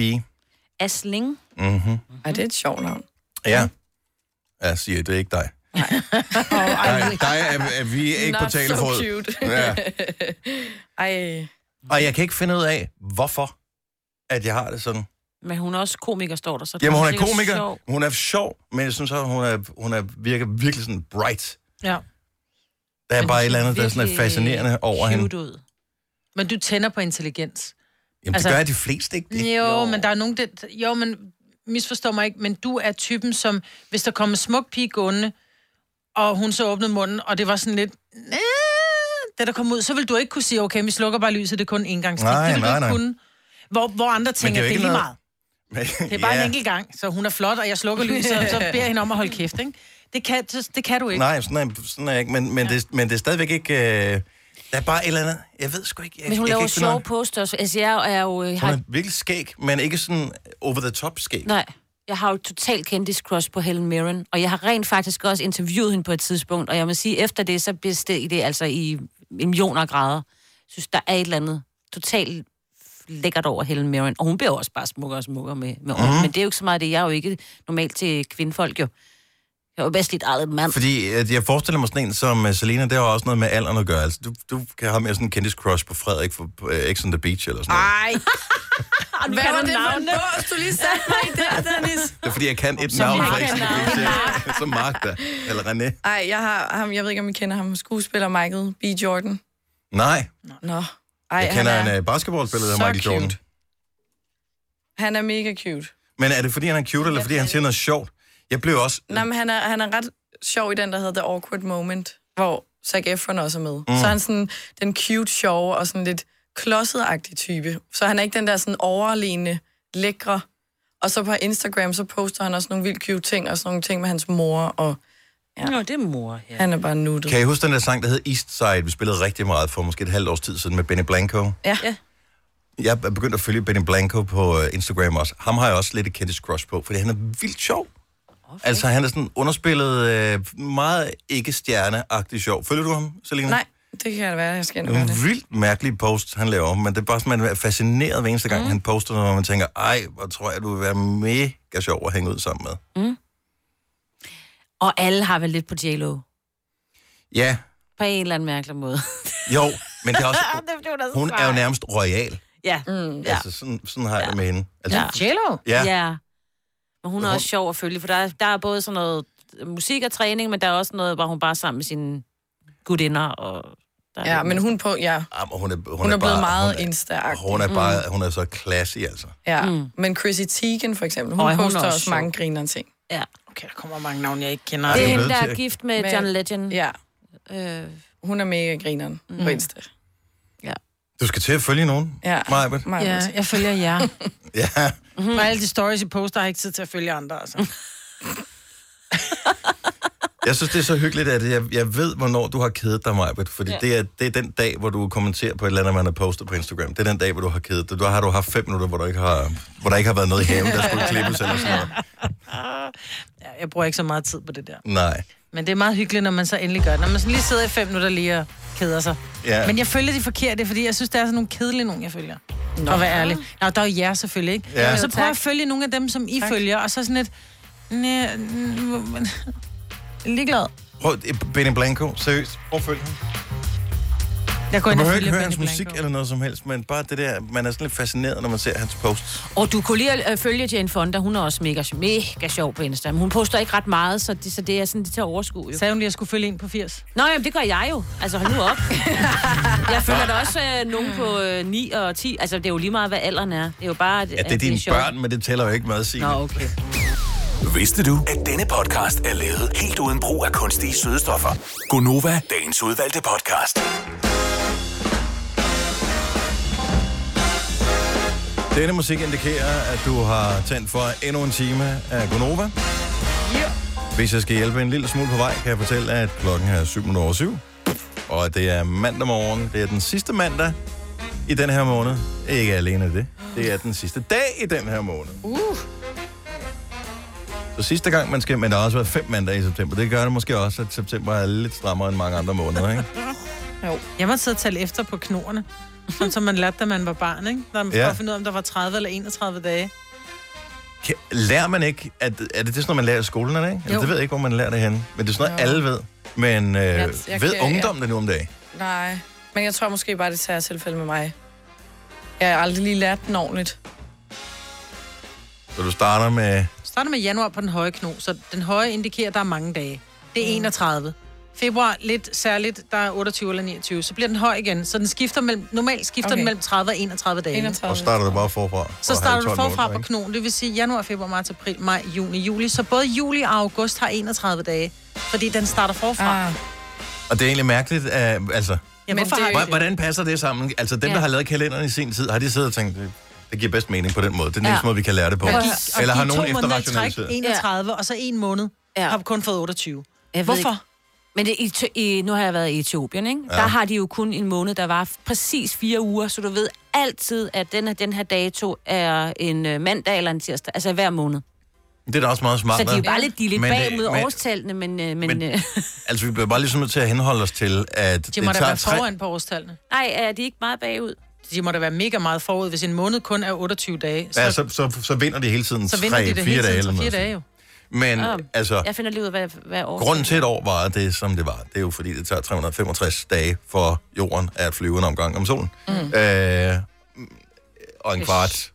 Asling.
Mm-hmm.
Ej, det er et sjovt navn.
Ja. Ja, siger, det er ikke dig. Nej, dig er, er vi ikke på
Not
talefod.
So cute.
Ja.
Ej.
Og jeg kan ikke finde ud af, hvorfor at jeg har det sådan.
Men hun er også komiker, står der. Så
Jamen, hun er
sikkert
komiker,
sjov.
hun er sjov, men jeg synes, at hun, er, hun er, virker virkelig sådan bright.
Ja.
Der er
Men
bare
hun
et eller andet, der er sådan lidt
virkelig
fascinerende over
cute
hende.
Ud. Men du tænder på intelligens.
Jamen, altså, det gør de fleste ikke det.
Jo, jo, men der er nogen, der... Jo, men misforstår mig ikke, men du er typen, som... Hvis der kommer en smuk pige gående, og hun så åbnede munden, og det var sådan lidt... "Næh", Da der kom ud, så vil du ikke kunne sige, okay, vi slukker bare lyset, det er kun en gang.
Nej,
det vil du
nej,
ikke
nej.
kunne. Hvor, hvor andre
Men
tænker, det er,
jo
det er
ikke
lige
noget-
meget. Det er bare
ja.
en enkelt gang, så hun er flot, og jeg slukker lyset, og så beder jeg hende om at holde kæft, ikke? Det kan, det, det kan du ikke.
Nej, sådan er, sådan er jeg ikke, men, men, ja. det, men det er stadigvæk ikke... Øh, der er bare et eller andet, jeg ved sgu ikke... Jeg,
Men hun
jeg kan
laver
ikke finde ud af-
sjove posters. Altså, jeg er jo... øh,
Hun er
Har,
virkelig skæg, men ikke sådan over the top skæg.
nej, jeg har jo totalt kendis crush på Helen Mirren, og jeg har rent faktisk også interviewet hende på et tidspunkt, og jeg må sige, efter det, så besteg det altså i millioner af grader. Jeg synes, der er et eller andet totalt lækkert over Helen Mirren, og hun bliver jo også bare smukkere og smukkere med, med mm.
Mhm.
men det er jo ikke så meget det. Jeg er jo ikke normalt til kvindefolk, jo. Jeg er jo bedst lidt eget mand.
Fordi at jeg forestiller mig sådan en som uh, Selena, det har også noget med alderen at gøre. Altså, du, du kan have mere sådan en kendis crush på Frederik fra uh, X on the Beach eller sådan noget.
Ah.
Ej. Hvad
kan
var
du
det for en
navnene?
bås, du lige satte mig i der, Dennis?
Det er fordi, jeg kan et
Så
navn fra
Mark
X on the
er
Beach. ja. Som Mark der. Eller René.
Ej, jeg har ham, jeg ved ikke, om I kender ham, skuespiller Michael B. Jordan.
Nej,
Nå. Ej,
Ej, jeg kender
han er,
en uh, basketballspiller, der
så
hedder Michael Jordan.
han er mega cute.
Men er det fordi, han er cute, eller fordi han siger noget sjovt? Jeg blev også...
Nå, men han er, han er ret sjov i den, der hedder The Awkward Moment, hvor Zac Efron også er med. Mm. Så er han sådan den cute, sjove og sådan lidt klodset type. Så han er ikke den der sådan overlegne, lækre. Og så på Instagram, så poster han også nogle vildt cute ting, og sådan nogle ting med hans mor, og
Ja. Nå, det er mor, ja.
han er bare nuttet.
Mm. Kan I huske den der sang, der hed East Side? Vi spillede rigtig meget for måske et halvt års tid siden med Benny Blanco.
Ja.
ja.
Jeg er begyndt at følge Benny Blanco på øh, Instagram også. Ham har jeg også lidt et kendis crush på, fordi han er vildt sjov. Okay. Altså, han er sådan underspillet øh, meget ikke stjerneagtig sjov. Følger du ham, Selina?
Nej, det kan da være, jeg skal ind og gøre
Nogle
det.
vildt mærkelige posts, han laver, men det er bare sådan, man er fascineret hver eneste gang, mm. han poster noget, og man tænker, ej, hvor tror jeg, du vil være mega sjov at hænge ud sammen med.
Og alle har vel lidt på JLo,
Ja,
på en eller anden mærkelig måde.
jo, men det er også,
det var da så
hun er jo
sejt.
nærmest royal.
Ja. Mm,
Ja. Altså, sådan, sådan har jeg det med hende. Altså,
Jello?
Ja.
ja. Men hun er også sjov at følge, for der er, der er både sådan noget musik og træning, men der er også noget, hvor hun bare er sammen med sine gudinder. Og der er
Ja,
lidt
men
mere.
hun på, ja.
Jamen, hun er, hun,
Hun er blevet
bare,
meget Mm.
hun er,
insta
hun er bare, hun er så classy, altså.
Ja, mm. men Chrissy Teigen for eksempel, hun
Øj,
Øj,
hun er
poster
også
hun også, også
sjov.
mange grinerende ting.
Ja.
Okay, der kommer mange navne, jeg ikke kender.
Det er
er
hende,
nødt
der
til
er
at-
gift med
Med-
John Legend.
Ja,
Øh,
hun er mega grineren mm. på Insta.
Du skal til at følge nogen,
Ja.
Majbert.
Meget
Ja,
godt.
jeg følger jer.
Ja.
Mm-hmm. Og alle de stories, I poster, har jeg ikke tid til at følge andre, altså.
Jeg synes, det er så hyggeligt, at jeg, jeg ved, hvornår du har kædet dig, Majbert, fordi
Ja.
ja. det, er, det er den dag, hvor du kommenterer på et eller andet, man har postet på Instagram. Det er den dag, hvor du har kædet dig. Du har, du haft fem minutter, hvor, du ikke har, hvor der ikke har været noget i haven, der skulle klippes eller sådan noget.
Ja, jeg bruger ikke så meget tid på det der.
Nej.
Men det er meget hyggeligt, når man så endelig gør det. Når man sådan lige sidder i fem minutter lige og keder sig.
Ja.
Men jeg følger de forkerte, fordi jeg synes, der er sådan nogle kedelige nogen, jeg følger. Nå. At være ærlig. Nå, der er jo jer selvfølgelig, ikke?
Ja.
Og så
Jo,
prøver jeg
tak.
at følge nogle af dem, som I tak. følger, og så sådan et... Næ, n- men- ligeglad.
Prøv, eh, Benny Blanco, seriøst, prøv at følge ham.
Jeg går
du
ind og
behøver
følger
ikke høre
Benny
hans musik
Blanco.
eller noget som helst, men bare det der, man er sådan lidt fascineret, når man ser hans posts.
Og du kunne lige øh, følge Jane Fonda, hun er også mega, mega sjov på Instagram. Hun poster ikke ret meget, så det, så det er sådan, det tager overskue jo.
Sagde hun lige, at jeg skulle følge en på 80?
Nå, jamen, det gør jeg jo. Altså, hold nu op. jeg følger da også øh, nogen på øh, 9 og 10. Altså, det er jo lige meget, hvad alderen er. Det er jo bare, at,
Ja, det er
at
dine
sjovt.
børn, men det tæller jo ikke meget, Signe.
Nå, okay.
Vidste du, at denne podcast er lavet helt uden brug af kunstige sødestoffer?
Gonova.
Dagens udvalgte podcast.
Denne musik indikerer, at du har tændt for endnu en time af Gonova. Yeah. Hvis jeg skal hjælpe en lille smule på vej, kan jeg fortælle, at klokken er 7.07. Og at det er mandag morgen. Det er den sidste mandag i den her måned. Ikke alene det. Det er den sidste dag i den her måned.
Uh.
Så sidste gang man skal, men der har også været fem mandage i september. Det gør det måske også, at september er lidt strammere end mange andre måneder, ikke?
Jo. Jeg måtte sidde og tælle efter på knorene, sådan som man lærte, da man var barn, ikke? Der man
Ja.
ja. finde ud af, om der var 30 eller 31 dage.
Kan- Lærer man ikke, at, er det, det er sådan noget, man lærer i skolen, er det ikke?
Jo.
Altså, det ved jeg ikke, hvor man lærer det henne. Men det er sådan noget, alle ved. Men øh,
jeg
ved
kan-
ungdommen det nu om dagen?
Nej, men jeg tror måske bare, det tager tilfælde med mig. Jeg har aldrig lige lært den ordentligt.
Mm. Så du starter med...
Starter med januar på den høje kno, så den høje indikerer, at der er mange dage. Det
Mm.
er 31. Februar lidt særligt, der er 28 eller 29. Så bliver den høj igen, så den skifter mellem, normalt skifter okay. den mellem 30 og 31 dage.
31. Og starter du bare forfra.
Så
Og
starter
halv
du
tolv
forfra
måneder,
på
ikke?
knogen. Det vil sige januar, februar, marts, april, maj, juni, juli. Så både juli og august har 31 dage, fordi den starter forfra. Ah.
Og det er egentlig mærkeligt, at, altså...
Ja, hvorfor har
Hvor-
vi det?
Hvordan passer det sammen? Altså, dem,
Øh. Ja.
der har lavet kalenderen i sin tid, har de siddet og tænkt, det, det giver bedst mening på den måde. Det er den eneste måde, vi kan lære det på.
Og give- og
Eller har
give
nogen
to måneder i træk,
efterrationaliseret?
31, og så en måned ja. har kun fået 28.
Jeg ved
Hvorfor?
ikke. Men det, i, i, nu har jeg været i Etiopien, ikke?
Ja.
Ja. Der har de jo kun en måned, der var præcis fire uger, så du ved altid, at den her, den her dato er en øh, mandag eller en tirsdag, altså hver måned.
Det er da også meget smart.
så de er jo
hvad?
bare lidt, de er lidt
Men det-
bag mod
men-
årstallene, men... Øh, men,
men-
men øh,
Altså, vi bliver bare ligesom nødt til at henholde os til, at
De
det
må da
tager
være
tre...
foran på årstallene.
Nej, er de ikke meget bagud?
De må da være mega meget forud. Hvis en måned kun er 28 dage, så,
Ja, så, så, så vinder de hele tiden
så vinder
tre,
de det
fire
hele
dage
tiden.
eller
så fire
noget.
dage jo.
Men
Nå,
altså,
Jeg finder lige ud af, hvad, hvad årstallet
grunden til et år var det, som det var. Det er jo fordi, det tager 365 dage for jorden at flyve en omgang om solen. Mm. Øh, og en
Ish.
kvart.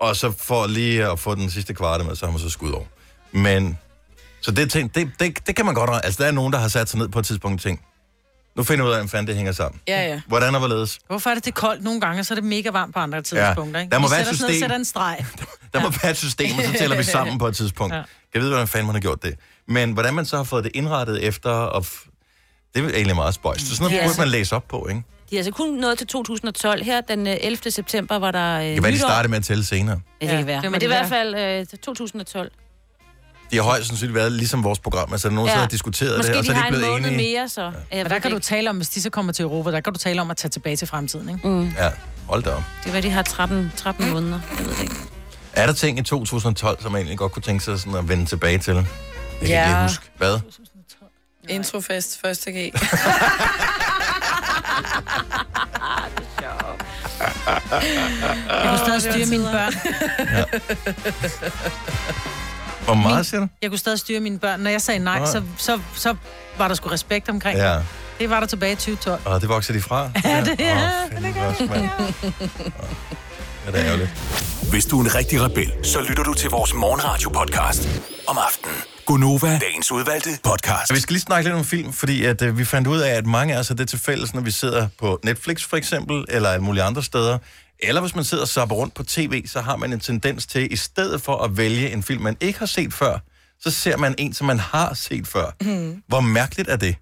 Og så for lige at få den sidste kvarte med, så har man så skudt over. Men, så det, ting, det, det, det kan man godt... Altså, der er nogen, der har sat sig ned på et tidspunkt og tænkt, nu finder jeg ud af, hvordan fanden det hænger sammen.
Ja, ja.
Hvordan og hvorledes?
Hvorfor er det, det er koldt nogle gange, og så er det mega varmt på andre tidspunkter? Ikke?
Der må
Vi
være et
sætter os ned og
system.
sætter en streg.
Der må være et system, og så tæller vi sammen på et tidspunkt.
Ja.
Ja. Jeg ved, hvordan fanden man har gjort det. Men hvordan man så har fået det indrettet efter, og f- det er egentlig meget spøjst. Så sådan noget
Ja,
ja, burde
altså-
man læse op på, ikke?
De er altså kun nået til 2012 her, den øh, 11. september, var der øh,
Det kan være, de starter med at tælle senere.
Ja, det kan være.
det
Det
må
men det
det
er i hvert fald øh, 2012.
De har højst sandsynligt været ligesom vores program. Altså, nogen
Ja.
ja. har diskuteret
Måske
det, og så
de
er de
har
ikke
en
blevet
måned
enige.
mere, så. Ja. Jeg
Og der kan du tale om, hvis de så kommer til Europa, der kan du tale om at tage tilbage til fremtiden, ikke?
Mm.
Ja, hold da op.
Det kan være, de har 13, 13 måneder. Jeg ved det ikke.
Er der ting i 2012, som man egentlig godt kunne tænke sig sådan at vende tilbage til? Jeg kan
Ja.
ja. ikke lige huske. Hvad?
Introfest, første G.
Jeg kunne stadig styre mine børn.
Hvor meget siger du?
Jeg kunne stadig styre mine børn. Når jeg sagde nej,
Nå.
så, så, så var der sgu respekt omkring
Ja.
det. Det var der tilbage i 2012.
Og det vokser de fra.
Ja, det er.
Åh, fanden også, mand. Ja, det er ærgerligt.
Hvis du er en rigtig rebel, så lytter du til vores morgenradio-podcast om aftenen. Gonova, dagens udvalgte podcast.
Og vi skal lige snakke lidt om film, fordi at, øh, vi fandt ud af, at mange af os har det til fælles, når vi sidder på Netflix for eksempel, eller alle mulige andre steder. Eller hvis man sidder og zapper rundt på tv, så har man en tendens til, i stedet for at vælge en film, man ikke har set før, så ser man en, som man har set før. Mm. Hvor mærkeligt er det?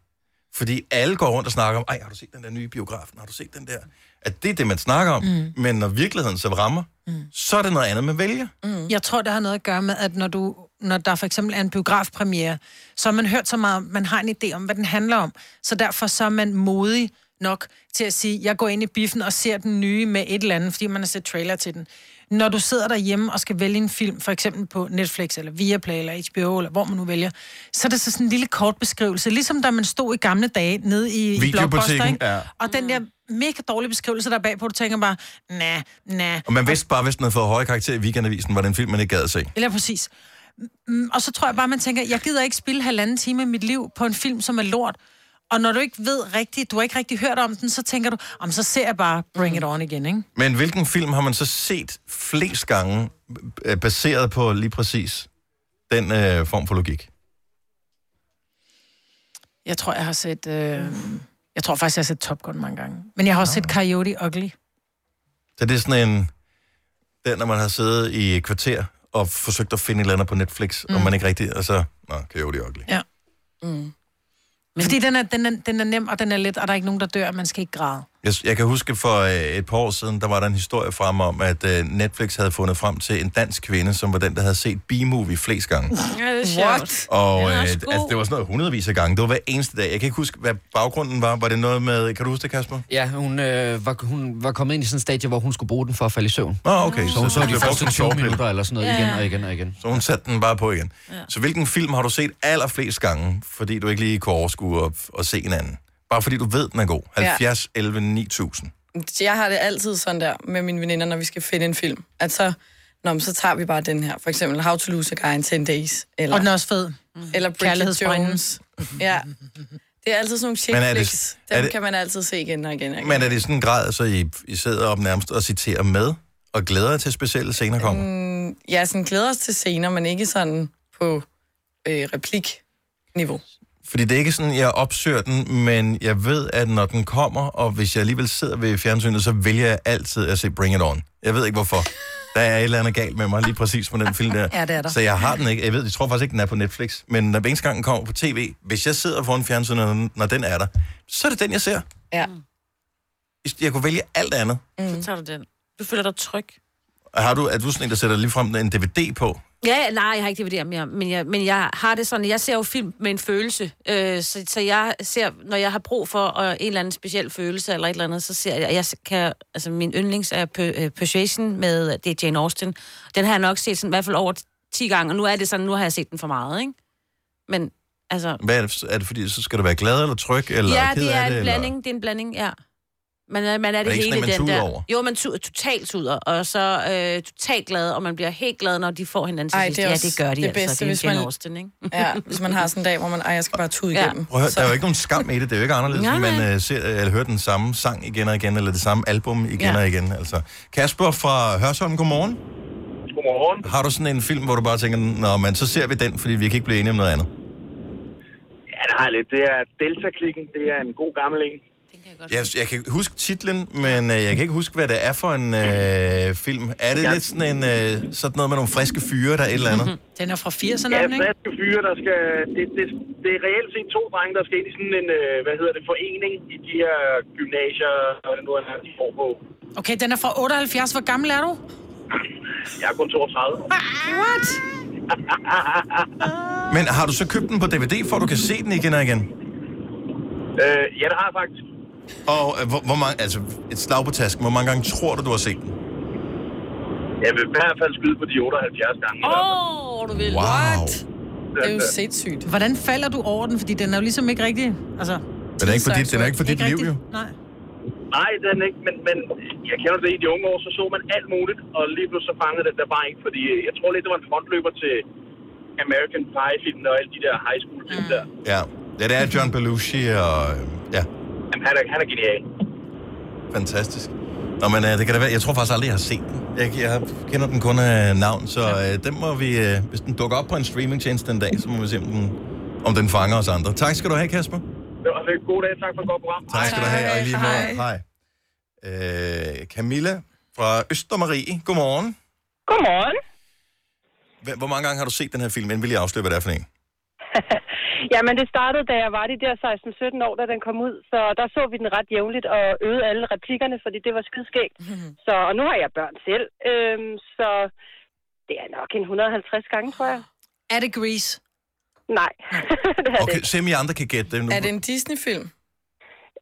Fordi alle går rundt og snakker om, ej, har du set den der nye i biografen? Har du set den der? At det er det, man snakker om. Mm. Men når virkeligheden så rammer, mm. så er det noget andet, man vælger.
Mm. Jeg tror, det har noget at gøre med, at når du når der for eksempel er en biografpremiere, så har man hørt så meget om, man har en idé om, hvad den handler om. Så derfor så er man modig nok til at sige, jeg går ind i biffen og ser den nye med et eller andet, fordi man har set trailer til den. Når du sidder derhjemme og skal vælge en film, for eksempel på Netflix, eller Viaplay, eller HBO, eller hvor man nu vælger, så er det så sådan en lille kort beskrivelse, ligesom da man stod i gamle dage nede i, i
Videobutikken,
Blockbuster, ikke?
ja. Mm.
Og den der mega dårlige beskrivelse, der er bagpå, du tænker bare, nej, nej,
Og man vidste bare, hvis den havde fået høje karakter i weekendavisen, var det en film, man ikke gad at se.
Eller præcis. Mm, Og så tror jeg bare, man tænker, jeg gider ikke spille halvanden time af mit liv på en film, som er lort. Og når du ikke ved rigtigt, du har ikke rigtig hørt om den, så tænker du, om så ser jeg bare Bring It On igen, ikke?
Men hvilken film har man så set flest gange, øh, baseret på lige præcis den øh, form for logik?
Jeg tror, jeg har set... Øh... Jeg tror faktisk, jeg har set Top Gun mange gange. Men jeg har også set Coyote Ugly.
Så det er sådan en... Den, når man har siddet i et kvarter og forsøgt at finde et eller andet på Netflix, mm. og man ikke rigtig... Og så... Nå, kan jo det ugly.
Ja. Mm. Men... Fordi den er, den, er, den er nem, og den er let, og der er ikke nogen, der dør, og man skal ikke græde.
Jeg, jeg kan huske for øh, et par år siden, der var der en historie frem om, at øh, Netflix havde fundet frem til en dansk kvinde, som var den, der havde set B-movie flest gange.
Ja, det er
sjovt.
Og øh, altså, det var sådan noget hundredvis af gange. Det var hver eneste dag. Jeg kan ikke huske, hvad baggrunden var. Var det noget med... Kan du huske det, Kasper?
Ja, hun, øh, var, hun var kommet ind i sådan en stadie, hvor hun skulle bruge den for at falde i søvn.
Åh, oh, okay.
Så hun så
blev
de
brugt
første
som
20
sjovklip.
minutter eller sådan noget
Ja.
igen og igen og igen.
Så hun satte den bare på igen. Ja. Så hvilken film har du set allerflest gange, fordi du ikke lige kunne overskue at, at se en anden? Bare fordi du ved, den er god.
Ja.
70, 11, 9000.
Jeg har det altid sådan der med mine veninder, når vi skal finde en film. At så, nå, men så tager vi bare den her. For eksempel How to Lose a Guy in 10 Days. Eller,
Og den er også fed.
Eller Bridget
Kærlighedsbrønden.
Jones. Ja. Det er altid sådan nogle chick
Men er det-
flicks.
er
Dem
det-
kan man altid se igen og igen og igen.
Men er det i sådan en grad, så I, I sidder op nærmest og citerer med, og glæder jer til specielle scener kommer? Mm.
Mm, ja, sådan glæder os til scener, men ikke sådan på øh, replikniveau.
Fordi det er ikke sådan, jeg opsøger den, men jeg ved, at når den kommer, og hvis jeg alligevel sidder ved fjernsynet, så vælger jeg altid at se Bring It On. Jeg ved ikke hvorfor. Der er et eller andet galt med mig lige præcis med den film der.
Ja, det er der.
Så jeg har den ikke. Jeg ved, jeg tror faktisk ikke, den er på Netflix. Men når hver eneste gang den kommer på tv, hvis jeg sidder foran fjernsynet, når den- når den er der, så er det den, jeg ser.
Ja.
Jeg kunne vælge alt andet.
Mm. Så tager du den. Du føler dig tryg.
Har du, er du sådan en, der sætter lige frem en DVD på?
Ja, ja, nej, jeg har ikke DVD mere, men jeg, men jeg har det sådan, jeg ser jo film med en følelse, øh, så, så jeg ser, når jeg har brug for øh, en eller anden speciel følelse eller et eller andet, så ser jeg, jeg kan, altså min yndlings er P- øh, Persuasion med, øh, det er Jane Austen, den har jeg nok set sådan, i hvert fald over 10 gange, og nu er det sådan, nu har jeg set den for meget, ikke? Men, altså,
Hvad er det, er det fordi, så skal du være glad eller tryg? Eller
ja,
ked
det er
af
en
det,
blanding, det er en blanding, ja. Man er, man er det,
ikke sådan,
hele
at man
den
tuder
der.
over?
Jo, man tuder, totalt tuder, og så øh, totalt glad, og man bliver helt glad, når de får hinanden til
Ej,
sidst.
det er
ja,
også
det gør de
det
altså.
bedste,
det er
hvis
Jane
man-
Austen, ikke?
Ja, hvis man har sådan en dag, hvor man, ej, jeg skal bare tude
Ja.
igennem.
Prøv at høre,
Så-
der er jo ikke nogen skam i det. Det er jo ikke anderledes,
Nej,
at man
nej.
øh, ser, eller hører den samme sang igen og igen, eller det samme album igen
Ja.
ja. og igen. Altså. Kasper fra Hørsholm, godmorgen. Godmorgen. Har du sådan en film, hvor du bare tænker, nå, men så ser vi den, fordi vi kan ikke blive enige om noget andet?
Ja, det har jeg lidt. Det er Delta-klikken. Det er en god gammel en.
Jeg, jeg kan huske titlen, men øh, jeg kan ikke huske, hvad det er for en øh, film. Er det
Ja.
ja. lidt sådan, en, øh, sådan noget med nogle friske fyre, der er et eller andet? Mm-hmm.
Den er fra 80'erne,
Ja,
er den, ikke?
friske fyre, der skal... Det, det, det er reelt set to drenge, der skal ind i sådan en, øh, hvad hedder det, forening i de her gymnasier, og nu er de får på.
Okay, den er fra 78. Hvor gammel er du?
Jeg er kun 32.
What?
Men har du så købt den på DVD, for at du kan se den igen og igen?
Øh, ja, det har jeg faktisk.
Og øh, hvor, hvor mange, altså et slag på tasken, hvor mange gange tror du, du har set den?
Jeg vil i hvert fald skyde på de 78 gange.
Åh, oh, du vil.
Wow. What?
Det er jo sindssygt. Hvordan falder du over den? Fordi den er jo ligesom ikke rigtig... Altså,
Den er ikke for dit, den er ikke for dit liv, jo.
Nej.
Nej, den er ikke, men, men jeg kender det i de unge år, så så man alt muligt, og lige pludselig så fangede det der bare ikke, fordi øh, jeg tror lidt, det var en frontløber til American Pie-filmen og alle de der high school-film
Mm.
der.
Ja. ja, det er John Belushi, og øh, ja,
Jamen, han er, han er genial.
fantastisk. Nå, men øh, det kan da være, jeg tror faktisk aldrig, jeg har set den. Jeg, jeg kender den kun af navn, så øh, den må vi, øh, hvis den dukker op på en streamingtjeneste den dag, så må vi se, om den, om den fanger os andre. Tak skal du have, Kasper.
Det var en god dag. Tak for et godt program.
Tak skal du have, og i lige med. Hej. Øh, Camilla fra Østermarie, godmorgen.
Godmorgen.
Hva- Hvor mange gange har du set den her film, inden vi lige afslører, hvad det er for en?
Jamen, det startede, da jeg var de der 16-17 år, da den kom ud. Så der så vi den ret jævnligt og øvede alle replikkerne, fordi det var skidskægt.
Mhm.
Så, og nu har jeg børn selv, øhm, så det er nok en 150 gange, tror jeg.
Er det Grease?
Nej.
Okay, se om I andre kan gætte det nu.
Er det en Disney-film?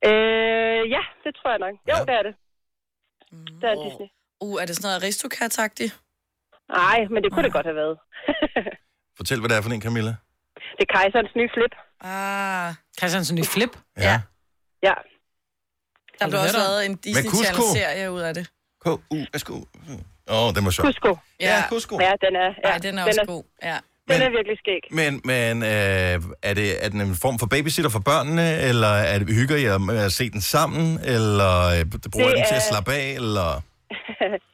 Øh, ja, det tror jeg nok. Jo, ja. det er det. Det er Disney.
Uh, er det sådan noget aristokrat-agtigt?
Nej, men det kunne det godt have været.
Fortæl, hvad det er for en, Camilla.
Det er kejserens nye flip.
Ah.
Christiansen ny flip?
Ja.
Ja.
Der blev også
Hvad er der?
lavet en
Med
Disney
Cusco?
Channel-serie ud af det.
K-U-S-K. Åh, den var sjov.
Ja,
Cusco.
Ja, den er,
ja. Ej, den er også god. Ja.
Den er virkelig skæg.
Men, men øh, er, det, er den en form for babysitter for børnene, eller er det, hygger I jer med at se den sammen, eller øh, bruger I
Det
den til at
er-
slappe af, eller...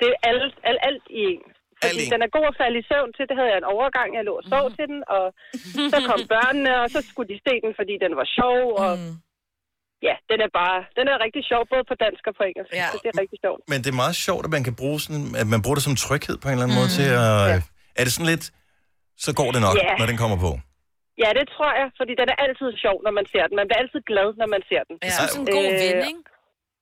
det er alt, alt, alt i en. Fordi den er god at falde i søvn til. Det havde jeg en overgang. Jeg lå og sov
Mhm.
til den, og så kom børnene, og så skulle de se den, fordi den var sjov. Og
Mm.
ja, den er bare... Den er rigtig sjov, både på dansk og på engelsk. Ja. Så det er rigtig sjovt.
Men det er meget sjovt, at man kan bruge sådan, at man bruger det som tryghed på en eller anden
Mm.
måde til at... øh, Er det sådan lidt, så går det nok,
Ja.
når den kommer på.
Ja, det tror jeg, fordi den er altid sjov, når man ser den. Man bliver altid glad, når man ser den.
Jeg synes, det er
en god ven,
ikke?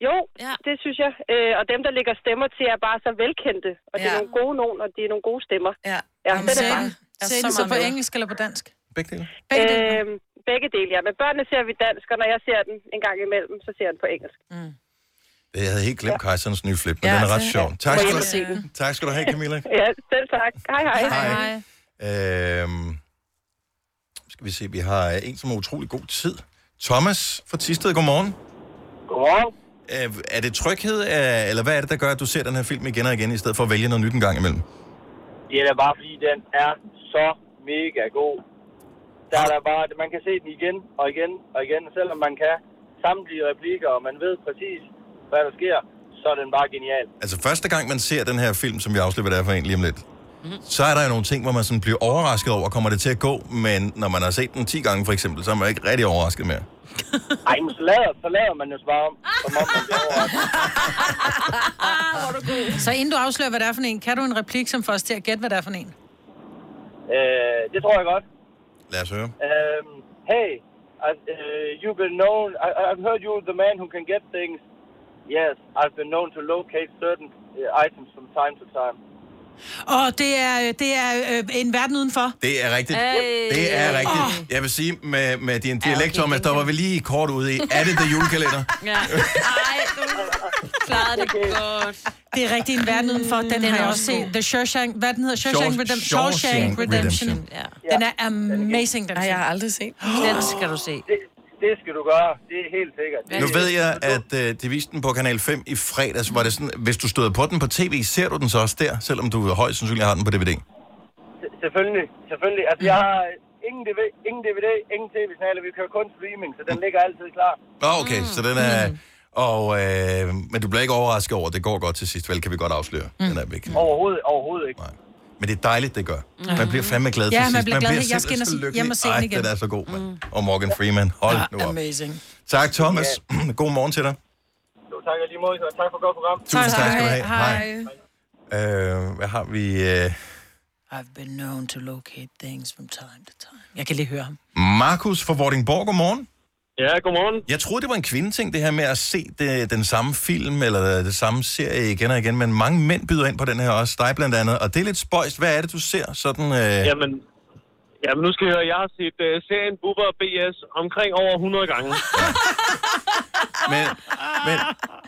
Jo, ja. det synes jeg. Øh, og dem, der lægger stemmer til, er bare så velkendte. Og det er nogle gode nogen, og det er nogle gode stemmer.
Ja,
ja
Jamen,
den er
sagde
bare...
den- sagde den så på engelsk eller på dansk?
Begge dele.
Begge dele.
Øhm, begge dele, ja. Men børnene ser vi dansk, og når jeg ser den en gang imellem, så ser jeg den på engelsk.
Jeg havde helt glemt Kejserens nye flip, men
Ja,
den er
så-
ret sjov. Tak
Må
skal,
jeg se
du,
den?
tak skal du have, Camilla.
Ja, selv tak. Hej, hej.
Hej. Øhm, skal vi se, vi har en, som er utrolig god tid. Thomas fra Tisted, godmorgen.
Godmorgen.
Øh, er det tryghed, øh, eller hvad er det, der gør, at du ser den her film igen og igen, i stedet for at vælge noget nyt en gang imellem?
Det er da bare fordi, den er så mega god. Der er der bare, man kan se den igen og igen og igen, selvom man kan samtlige replikker, og man ved præcis, hvad der sker, så er den bare genial.
Altså første gang, man ser den her film, som vi afslipper derfor egentlig om lidt, så er der jo nogle ting, hvor man sådan bliver overrasket over, kommer det til at gå, men når man har set den 10 gange for eksempel, så er man ikke rigtig overrasket mere.
Ej, men så lader, så lader man jo bare om, som om man bliver overrasket.
Så inden du afslører, hvad det er for en, kan du en replik, som får os til at gætte, hvad det er for en?
Øh, det tror jeg godt.
Lad os høre.
Um, hey, I, uh, you've been known. I, I've heard you're the man who can get things. Yes, I've been known to locate certain uh, items from time to time.
Og det er, det er øh, en verden udenfor.
Det er rigtigt.
Hey.
Det er rigtigt.
Åh.
Jeg vil sige, med, med din dialekt, Thomas, der var vi lige kort ude i, er det det julekalender?
Ja. Ej, du klarede det godt.
Det er rigtig en verden udenfor. Den, den har jeg også set. The Shawshank, hvad den hedder? Shawshank,
Shaw-
Redemption.
Shawshank
Shawshank Redemption.
Redemption.
Ja. Den er amazing, den Ej, jeg har
aldrig set.
Den skal du se.
Det, det skal du gøre. Det er helt sikkert.
Nu ved jeg, at øh, de viste den på Kanal 5 i fredags. Var det sådan, hvis du støder på den på tv, ser du den så også der, selvom du højst sandsynligt har den på DVD?
Se- Selvfølgelig, selvfølgelig. Altså, jeg har ingen DVD, ingen, DVD, ingen tv-signaler. Vi kører kun streaming, så den ligger altid klar.
Nå,
Mm.
okay, så den er... Og, øh, men du bliver ikke overrasket over, at det går godt til sidst, vel, kan vi godt afsløre. Mm. Den er væk.
Overhovedet, overhovedet ikke.
Men det er dejligt, det gør.
Mhm.
Man bliver fandme glad til
Ja,
sidst.
man bliver glad. Jeg skal
simpelthen
ind og
så
se-
lykkelig.
hjem og se den
Ej,
igen. Mm.
den er så god, mand. Og Morgan Freeman, hold nu op.
Amazing.
Tak, Thomas. God morgen til dig.
Jo, tak og lige måde, og tak for et godt program.
Tusind tak, skal du have. Øh, hvad har vi? Øh,
I've been known to locate things from time to time. Jeg kan lige høre ham.
Markus fra Vordingborg, godmorgen.
Ja, godmorgen.
Jeg troede, det var en kvindeting, det her med at se det, den samme film eller det samme serie igen og igen, men mange mænd byder ind på den her også, dig blandt andet, og det er lidt spøjst. Hvad er det, du ser sådan... Øh...
Jamen, jamen, nu skal jeg høre, jeg har set uh, serien Bubber BS omkring over 100 gange.
Men, men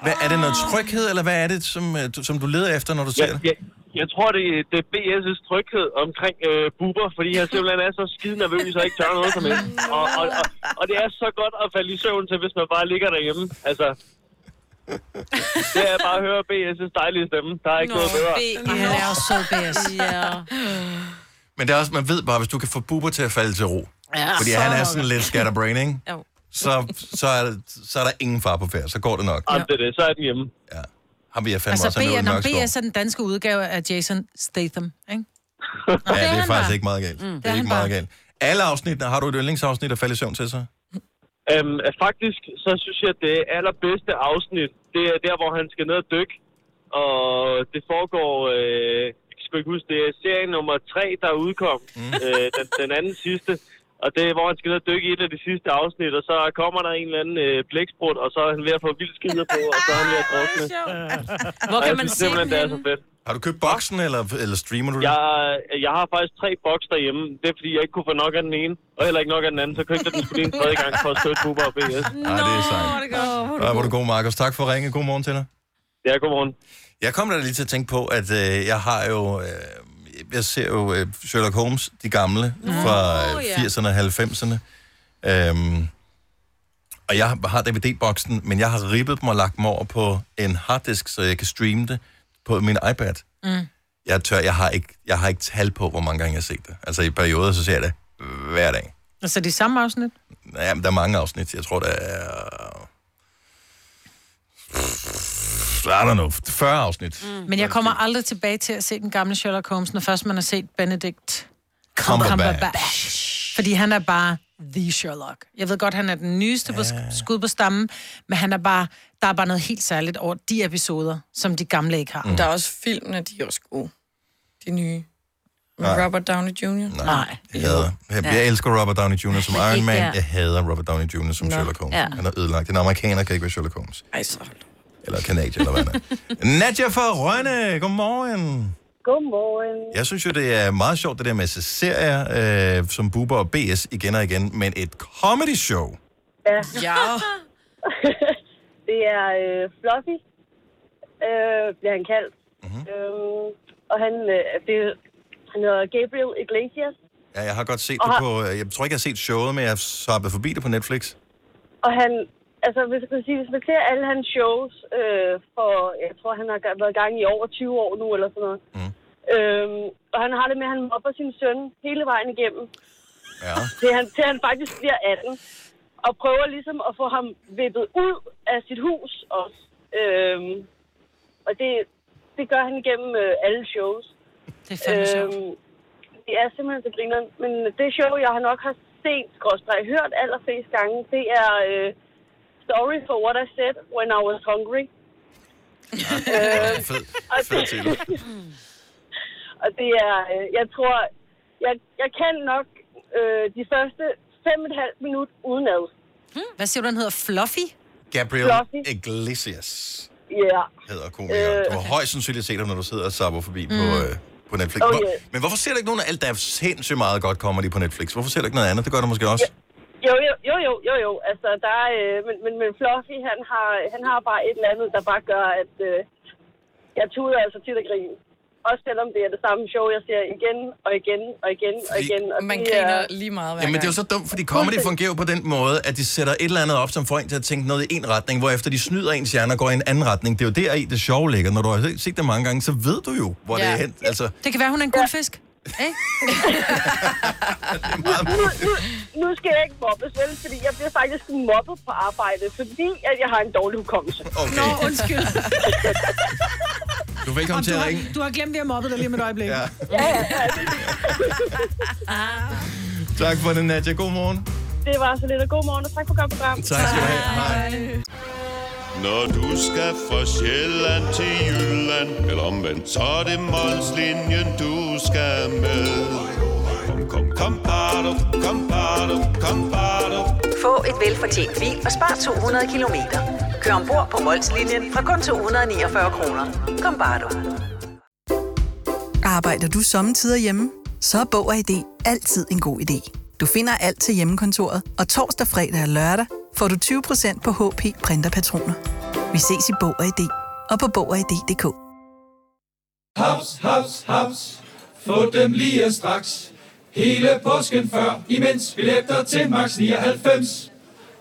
hvad, er det noget tryghed, eller hvad er det, som, øh, du, som du leder efter, når du ser
jeg,
det?
jeg, jeg tror, det, det er BS' tryghed omkring øh, buber, fordi jeg simpelthen er så skide nervøs, og ikke tør noget som helst. Og, og, og, og det er så godt at falde i søvn til, hvis man bare ligger derhjemme. Altså, det er bare at høre BS' dejlige stemme. Der er ikke Nå, noget bedre.
Ej, han er jo så bedst.
ja.
Men det er også, man ved bare, hvis du kan få Bubber til at falde til ro,
Ja,
fordi
så-
han er sådan lidt scatterbrain, ikke?
Jo.
Så, så, er, der- så er der ingen far på færd, så går det nok.
Jamen, det er det. Så er den hjemme.
Ja. Ham vil jeg fandme altså,
Altså,
også have
B, når
noget
B er så den danske udgave af Jason Statham, ikke?
Ja, det er
han
faktisk
bare.
ikke meget galt.
Mm.
Mm,
Det
det
er
er ikke
han
meget
bare.
galt. Alle afsnittene, har du et yndlingsafsnit at falde i søvn til så?
Øhm, at faktisk, så synes jeg, at det allerbedste afsnit, det er der, hvor han skal ned og dykke. Og det foregår, øh, jeg skal ikke huske, det er serie nummer 3, der udkom, mm. øh, den, den anden sidste. Og det er, hvor han skal ned og dykke i et af de sidste afsnit, og så kommer der en eller anden øh, blæksprut, og så er han ved at få vildt skider på, og så er han ved at drukne.
Hvor
Og
Ah, kan
jeg
man
synes
se
simpelthen,
den
det er
henne?
så fedt.
Har du købt boksen, eller, eller streamer du det?
Jeg, jeg har faktisk tre bokser derhjemme. Det er, fordi jeg ikke kunne få nok af den ene, og heller ikke nok af den anden. Så købte jeg den sgu lige en tredje gang for at støtte Bubber og BS.
Ah.
Nej, det er sejt. Ja, hvor er du god, Markus. Tak for at ringe. God morgen til dig.
Ja, god morgen.
Jeg kom da lige til at tænke på, at øh, jeg har jo... Øh, jeg ser jo øh, Sherlock Holmes, de gamle,
Nå,
fra øh,
ja.
80'erne og 90'erne. Øhm, og jeg har DVD-boksen, men jeg har ribbet dem og lagt dem over på en harddisk, så jeg kan streame det på min iPad.
Mm.
Jeg tør, jeg har ikke, jeg har ikke tal på, hvor mange gange jeg har set det. Altså i perioder, så ser jeg det hver dag.
Altså de samme afsnit?
Ja, men der er mange afsnit. Jeg tror, der er... I don't know, 40 afsnit. Mm.
Men jeg kommer aldrig tilbage til at se den gamle Sherlock Holmes, når først man har set Benedict
Cumberbatch.
Fordi han er bare the Sherlock. Jeg ved godt, han er den nyeste på sk- skud på stammen, men han er bare, der er bare noget helt særligt over de episoder, som de gamle ikke har.
Mm. Der er også filmene, de er også gode. De nye. Med
Nej.
Robert Downey Jr. Nej.
Nej.
Jeg, hader. Jeg, jeg
Ja.
elsker Robert Downey Jr. som
Men
Iron
ikke
Man.
der.
Jeg hader Robert Downey Jr. som
Nå,
Sherlock Holmes.
ja.
Han er ødelagt. En amerikaner kan ikke være Sherlock Holmes.
Ej, så
Eller kanadier, eller hvad han er. Nadja fra Rønne, godmorgen.
Godmorgen.
Jeg synes jo, det er meget sjovt, det der med så serier øh, som Bubber og BS igen og igen, men et comedy show.
Ja.
ja.
det er øh, Fluffy, øh, bliver han kaldt.
Mhm.
Mm-hmm. Øhm, og han, øh, det, han hedder Gabriel Iglesias,
Ja, jeg har godt set
Og
det
har-
på... Jeg tror ikke, jeg har set showet, men jeg har soppet forbi det på Netflix.
og han, altså hvis, jeg kan sige, hvis man ser alle hans shows, øh, for jeg tror, han har ga- været i gang i over 20 år nu, eller sådan noget. Mm. Øhm, og han har det med, at han mobber sin søn hele vejen igennem.
Ja.
til han, til han faktisk bliver 18. Og prøver ligesom at få ham vippet ud af sit hus også. Øhm, og det, det gør han igennem øh, alle shows.
Det er fandme sjovt.
Øhm, Det er simpelthen så griner. Men det show, jeg har nok har set, skråstrej, hørt allerflest gange, det er øh, Story for What I Said When I Was Hungry. øh,
Fed,
og
fed titel.
og det er, øh, jeg tror, jeg, jeg kan nok øh, de første fem og et halvt minut udenad.
Hvad siger du, han hedder? Fluffy?
Gabriel
Fluffy.
Iglesias
Ja.
hedder komikeren.
Øh.
Du har højst sandsynligt set ham, når du sidder og sapper forbi mm.
Mm.
på, øh, på Netflix.
Oh,
Hvor-
yeah.
Men hvorfor ser du ikke nogen af alt, der er sindssygt meget godt comedy på Netflix? Hvorfor ser du ikke noget andet? Det gør du måske også.
Jo, jo, jo, jo, jo, jo. Altså, der er, øh, men, men, men Fluffy, han har, han har bare et eller andet, der bare gør, at øh, jeg tuder altså tit og griner. Også selvom det er det samme show, jeg ser igen og igen og igen og
Fordi
igen. Og
Man
det
griner
er,
lige meget hver
Jamen, det er jo
gang.
så dumt, fordi comedy fungerer jo på den måde, at de sætter et eller andet op, som får en til at tænke noget i en retning, hvorefter de snyder ens hjerne og går i en anden retning. Det er jo der i det sjove ligger. Når du har set det mange gange, så ved du jo, hvor ja. det er hen. Altså,
Det kan være, hun er en guldfisk. Ikke?
nu, nu, nu skal jeg ikke mobbes, vel? Fordi jeg bliver faktisk mobbet på arbejde, fordi at jeg har en dårlig hukommelse.
Okay.
Nå, undskyld.
du er velkommen
Om
til
du,
at
har,
ringe.
du har glemt, vi har mobbet dig lige med et øjeblik.
Ja.
Ja, ja, ja.
Tak for det, Nadia. God morgen.
Det var så lidt, og god morgen, og tak for godt program.
Tak skal du have. Hej.
Når du skal fra Sjælland til Jylland, eller omvendt, så er det Molslinjen, du skal med. Kom, kom, kom, bado, kom, bado, kom, bado.
Få et velfortjent bil og spar 200 kilometer. Kør ombord på Molslinjen fra kun 249 kroner. Kom bare du.
Arbejder du sommetider hjemme? Så er Bog og ID altid en god idé. Du finder alt til hjemmekontoret, og torsdag, fredag og lørdag får du 20% på HP Printerpatroner. Vi ses i Bog og ID og på Bog og ID.dk.
Haps, haps, haps. Få dem lige straks. Hele påsken før, imens billetter til max 99.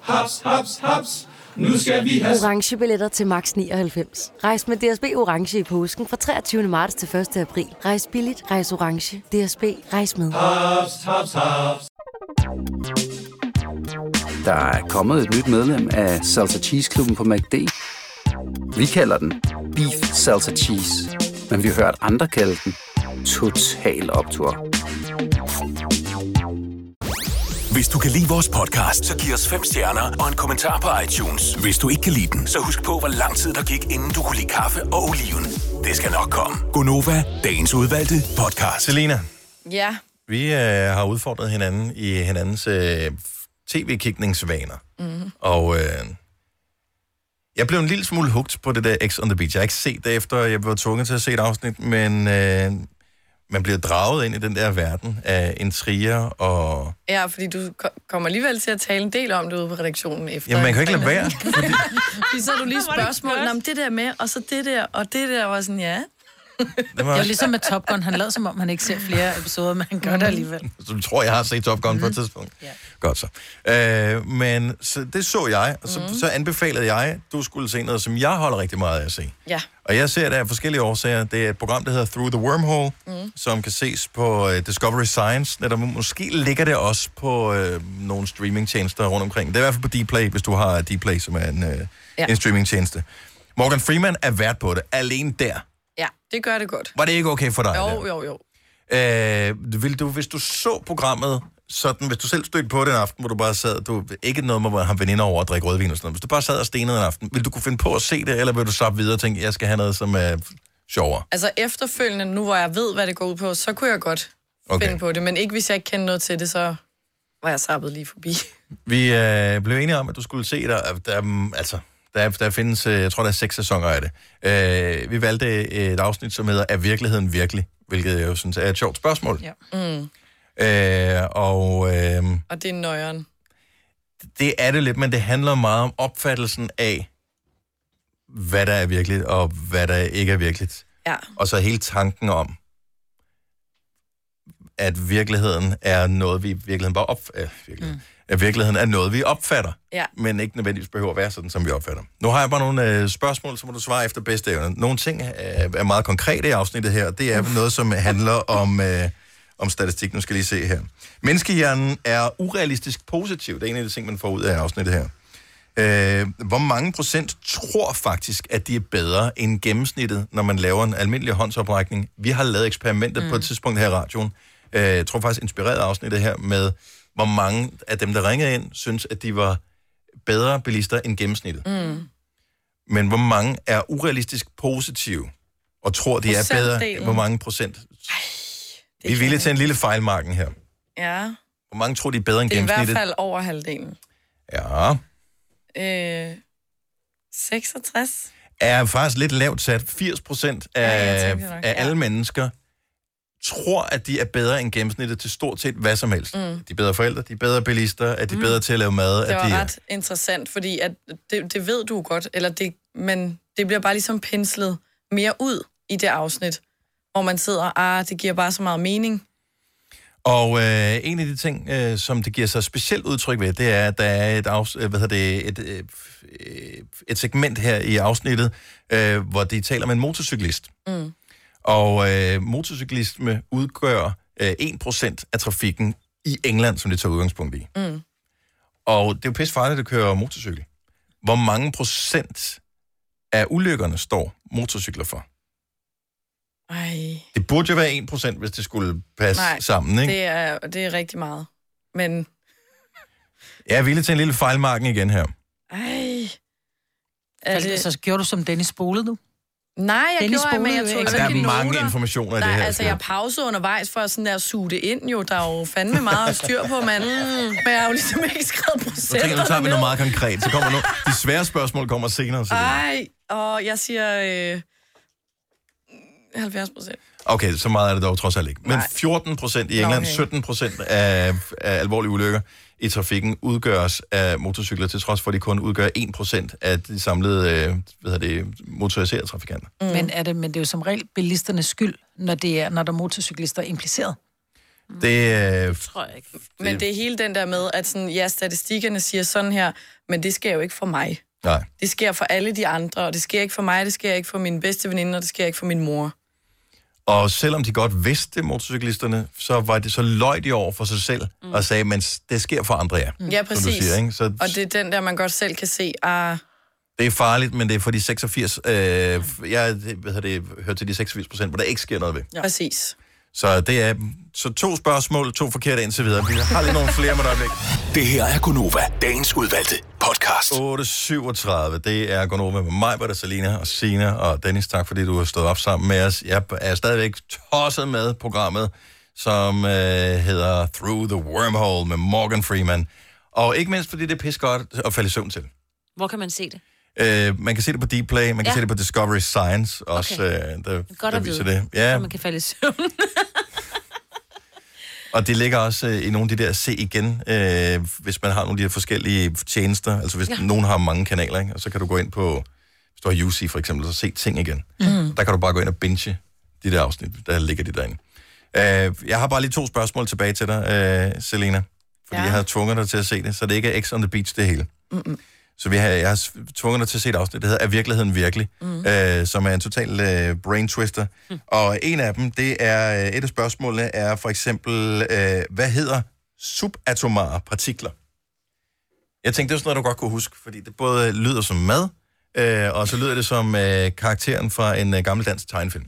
Haps, haps, haps. Nu skal vi have...
Orange billetter til max 99. Rejs med DSB Orange i påsken fra 23. marts til 1. april. Rejs billigt, rejs orange. DSB, rejs med.
Haps, haps, haps.
Der er kommet et nyt medlem af Salsa Cheese Klubben på MACD. Vi kalder den Beef Salsa Cheese, men vi har hørt andre kalde den Total Optor.
Hvis du kan lide vores podcast, så giv os fem stjerner og en kommentar på iTunes. Hvis du ikke kan lide den, så husk på, hvor lang tid der gik, inden du kunne lide kaffe og oliven. Det skal nok komme.
Gonova, dagens udvalgte podcast. Selina,
Ja.
vi øh, har udfordret hinanden i hinandens øh, tv-kigningsvaner.
Mm.
Og øh, Jeg blev en lille smule hooked på det der X on the Beach. Jeg har ikke set det efter, jeg blev tvunget til at se et afsnit, men øh, man bliver draget ind i den der verden af intriger og...
Ja, fordi du ko- kommer alligevel til at tale en del om det ude på redaktionen efter.
Jamen, man kan jo ikke lade være.
Fordi så er du lige spørgsmål om det der med, og så det der, og det der var sådan, ja.
Det
Det
var,
er jo ligesom med Top Gun. Han lader som om, han ikke ser flere episoder, men han gør det alligevel.
Så du altså, tror, jeg har set Top Gun mm. på et tidspunkt.
Ja.
Godt så. Øh, men så, det så jeg, og så, mm. så anbefalede jeg, du skulle se noget, som jeg holder rigtig meget af at se.
Ja.
Og jeg ser det af forskellige årsager. Det er et program, der hedder Through the Wormhole, mm. som kan ses på øh, Discovery Science. Netop, måske ligger det også på øh, nogle streamingtjenester rundt omkring. Det er i hvert fald på Dplay, hvis du har Dplay, som er en, øh,
Ja.
ja. en streamingtjeneste. Morgan Freeman er vært på det. Alene der.
Ja, det gør det godt.
Var det ikke okay for dig? det?
Jo, jo, jo.
Øh, vil du, hvis du så programmet sådan, hvis du selv stødte på den aften, hvor du bare sad, du ikke noget med, hvor han veninder over at drikke rødvin og sådan noget, hvis du bare sad og stenede en aften, vil du kunne finde på at se det, eller vil du slappe videre og tænke, jeg skal have noget, som er sjovere?
Altså efterfølgende, nu hvor jeg ved, hvad det går ud på, så kunne jeg godt okay. finde på det. Men ikke hvis jeg ikke kendte noget til det, så var jeg sappet lige forbi.
Vi øh, blev enige om, at du skulle se der, der mm, altså, der, der findes, øh, jeg tror, der er seks sæsoner af det. Øh, vi valgte et afsnit, som hedder Er virkeligheden virkelig? Hvilket jeg jo synes er et sjovt spørgsmål.
Ja.
Mm.
Øh, og øh,
Og det er nøjeren.
det er det lidt, men det handler meget om opfattelsen af, hvad der er virkeligt, og hvad der ikke er virkeligt.
Ja.
Og så hele tanken om, at virkeligheden er noget, vi i virkeligheden bare opf- øh, virkeligheden. Mm. At virkeligheden er noget, vi opfatter,
Ja.
men ikke nødvendigvis behøver at være sådan, som vi opfatter. Nu har jeg bare nogle øh, spørgsmål, så må du svare efter bedste evne. Nogle ting øh, er meget konkrete i afsnittet her. Det er noget, som handler om, øh, om statistik. Nu skal jeg lige se her. Menneskehjernen er urealistisk positiv. Det er en af de ting, man får ud af afsnittet her. Øh, hvor mange procent tror faktisk, at de er bedre end gennemsnittet, når man laver en almindelig håndsoprækning? Vi har lavet eksperimentet mm. på et tidspunkt her i radioen. Øh, jeg tror faktisk, inspireret af afsnittet her med, hvor mange af dem, der ringede ind, synes, at de var bedre bilister end gennemsnittet.
Mm.
Men hvor mange er urealistisk positive og tror, de er bedre?
Procentdelen.
Hvor mange procent? Vi er villige til en lille fejlmarken her.
Ja,
Hvor mange tror, de er bedre end
det er i hvert
gennemsnittet?
fald over halvdelen.
Ja.
Øh, 66?
er faktisk lidt lavt sat. 80 procent
Ja, jeg
af,
tænkte det nok,
af
ja.
alle mennesker tror, at de er bedre end gennemsnittet til stort set hvad som helst. Mm. De er bedre forældre, de er bedre bilister, er de mm. bedre til at lave mad.
Det
at de
var
er-
ret interessant, fordi at det, det ved du godt, eller det, men det bliver bare ligesom penslet mere ud i det afsnit, hvor man sidder, ah, det giver bare så meget mening.
Og øh, en af de ting, øh, som det giver sig specielt udtryk ved, det er, at der er et, afs- øh, hvad hedder det, et, øh, øh, et segment her i afsnittet, øh, hvor de taler med en motorcyklist.
Mm.
Og øh, motorcyklisme udgør øh, 1% af trafikken i England, som det tager udgangspunkt i.
Mm.
Og det er jo pisse farligt at køre motorcykel. Hvor mange procent af ulykkerne står motorcykler for?
Ej,
Det burde jo være 1 procent, hvis det skulle passe
nej,
sammen, ikke? Det...
Det, er, det er rigtig meget. Men,
Jeg er villig til en lille fejlmarken igen her.
ej...
det... Så gjorde du som Dennis Spole, du?
Nej, jeg
Dennis
gjorde,
spolede
men jeg
jo
tog
ikke.
Altså, der er mange informationer i det
Nej,
her.
altså
Signe.
jeg pausede undervejs for sådan der at suge det ind jo. Der er jo fandme meget at styr på, mand. Men jeg har jo ligesom ikke skrevet
Nu tænker jeg, nu
procenterne
tager vi
ned.
noget meget konkret. Så kommer nu, de svære spørgsmål kommer senere. Så det.
Ej, og jeg siger øh, 70 procent.
Okay, så meget er det dog trods alt ikke. Men 14 procent i England,
okay.
17 procent af, af alvorlige ulykker i trafikken udgøres af motorcykler, til trods for, at de kun udgør 1 procent af de samlede øh, hvad hedder det, motoriserede trafikanter.
Mm. Men, er det, men det er jo som regel bilisternes skyld, når, det er, når der er motorcyklister impliceret.
Mm.
Det, øh,
Tror jeg ikke. Men det er hele den der med, at sådan, ja, statistikkerne siger sådan her, men det sker jo ikke for mig.
nej.
Det sker for alle de andre, og det sker ikke for mig, det sker ikke for min bedste veninde, og det sker ikke for min mor.
Og selvom de godt vidste, motorcyklisterne, så var det så løj de over for sig selv mm. og sagde, men det sker for andre, ja.
Mm. Ja,
Som du
præcis.
siger, ikke? Så
Og det er den der, man godt selv kan se, ah,
det er farligt, men det er for de 86... Øh, jeg hvad hedder det, hører til de 86 procent, hvor der ikke sker noget ved.
ja. præcis.
Så det er så to spørgsmål, to forkerte indtil videre. Vi har lige nogle flere med dig væk.
Det her er Gunova, dagens udvalgte podcast.
8.37, det er Gonova med mig, Britta, Salina og Sina og Dennis. Tak fordi du har stået op sammen med os. Jeg er stadigvæk tosset med programmet, som øh, hedder Through the Wormhole med Morgan Freeman. Og ikke mindst fordi det er pis godt at falde i søvn til.
Hvor kan man se det?
Øh, man kan se det på Deep Play, man kan
Ja.
ja. se det på Discovery Science også,
Okay.
okay. øh, der,
Godt
der
at
viser
vide,
det. Ja,
så man kan falde i søvn.
og det ligger også øh, i nogle af de der se igen, øh, hvis man har nogle af de der forskellige tjenester. Altså hvis
Ja.
ja. nogen har mange kanaler, ikke? og så kan du gå ind på, hvis du har UC for eksempel, så se ting igen.
Mm.
Der kan du bare gå ind og binge de der afsnit, der ligger de derinde. Øh, jeg har bare lige to spørgsmål tilbage til dig, øh, Selena. Fordi ja. jeg har tvunget dig til at se det, så det ikke er X on the Beach det hele.
Mm-mm.
Så vi har, jeg har s- tvunget dig til at se et afsnit, der hedder Er virkeligheden virkelig? Mm. Øh, som er en total øh, brain twister. Mm. Og en af dem, det er, øh, et af spørgsmålene er for eksempel, øh, hvad hedder subatomare partikler? Jeg tænkte, det er sådan noget, du godt kunne huske, fordi det både lyder som mad, øh, og så lyder det som øh, karakteren fra en øh, gammel dansk tegnefilm.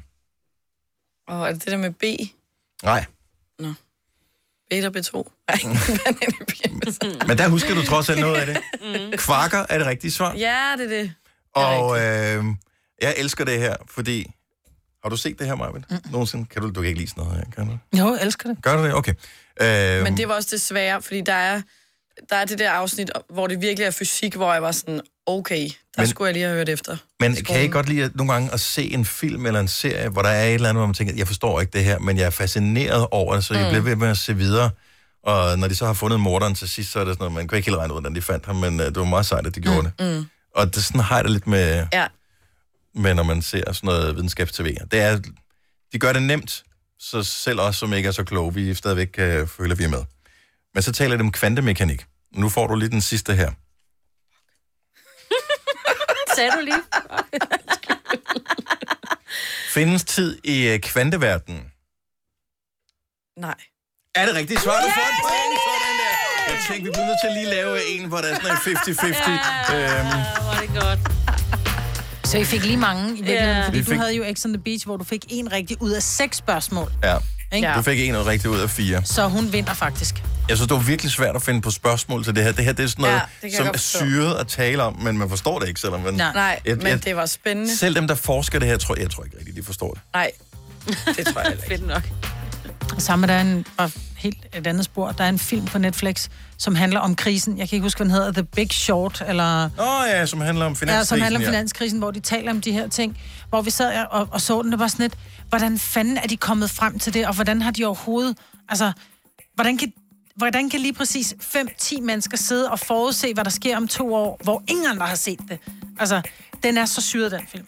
Og er det det der med B?
Nej,
Beta B2? Ej, hvad er det, Beta?
men der husker du trods alt noget af det. Kvarker er det rigtige svar.
Ja, det er det.
Og øh, jeg elsker det her, fordi... Har du set det her, Marvind? Mm. Nogensinde? Kan du, du kan ikke lide sådan noget her, kan du?
Jo, jeg elsker det.
Gør du det? Okay. Øh,
Men det var også det svære, fordi der er, der er det der afsnit, hvor det virkelig er fysik, hvor jeg var sådan, okay, der
Men-
men, skulle jeg lige have hørt efter.
men kan I godt lide at, nogle gange at se en film eller en serie, hvor der er et eller andet, hvor man tænker, jeg forstår ikke det her, men jeg er fascineret over det, så jeg
Mm.
bliver ved med at se videre. Og når de så har fundet morderen til sidst, så er det sådan noget, man kan ikke helt regne ud, hvordan de fandt ham, men øh, det var meget sejt, at de gjorde mm. det.
Mm.
Og det, sådan har jeg det lidt med,
Ja.
med, når man ser sådan noget videnskabstv. Det er, de gør det nemt, så selv os, som ikke er så kloge, vi stadigvæk kan føle, at vi er med. Men så taler de om kvantemekanik. Nu får du lige den sidste her.
Sagde du lige?
Findes tid i øh, kvanteverdenen?
Nej.
Er det rigtigt svar? Du får et point for den der. Jeg tænkte, vi bliver nødt til at lige lave en, hvor der er sådan en 50-50. Øhm,
Hvor er det godt.
Så I fik lige mange i virkeligheden,
Ja.
fordi
Vi
du
fik-
havde jo X on the Beach, hvor du fik en rigtig ud af seks spørgsmål. Ikke?
ja. Du fik en rigtig ud af fire.
Så hun vinder faktisk.
Jeg synes, det var virkelig svært at finde på spørgsmål til det her. Det her det er sådan noget,
Ja,
ja,
det kan
som
jeg
er
godt forstå.
syret at tale om, men man forstår det ikke, selvom man...
Nej, Nej men det var spændende.
Selv dem, der forsker det her, tror jeg, tror ikke rigtigt, de forstår det.
Nej, det tror jeg ikke.
Fedt nok.
Samme, der er en, og helt et andet spor. Der er en film på Netflix, som handler om krisen. Jeg kan ikke huske, hvad den hedder. The Big Short, eller...
Åh oh, ja, som handler om finanskrisen.
Ja, som handler om
ja.
finanskrisen, hvor de taler om de her ting. Hvor vi sad og, og så den, det var sådan lidt, hvordan fanden er de kommet frem til det, og hvordan har de overhovedet... Altså, hvordan kan, hvordan kan lige præcis 5-10 mennesker sidde og forudse, hvad der sker om to år, hvor ingen andre har set det? Altså, den er så syret, den film.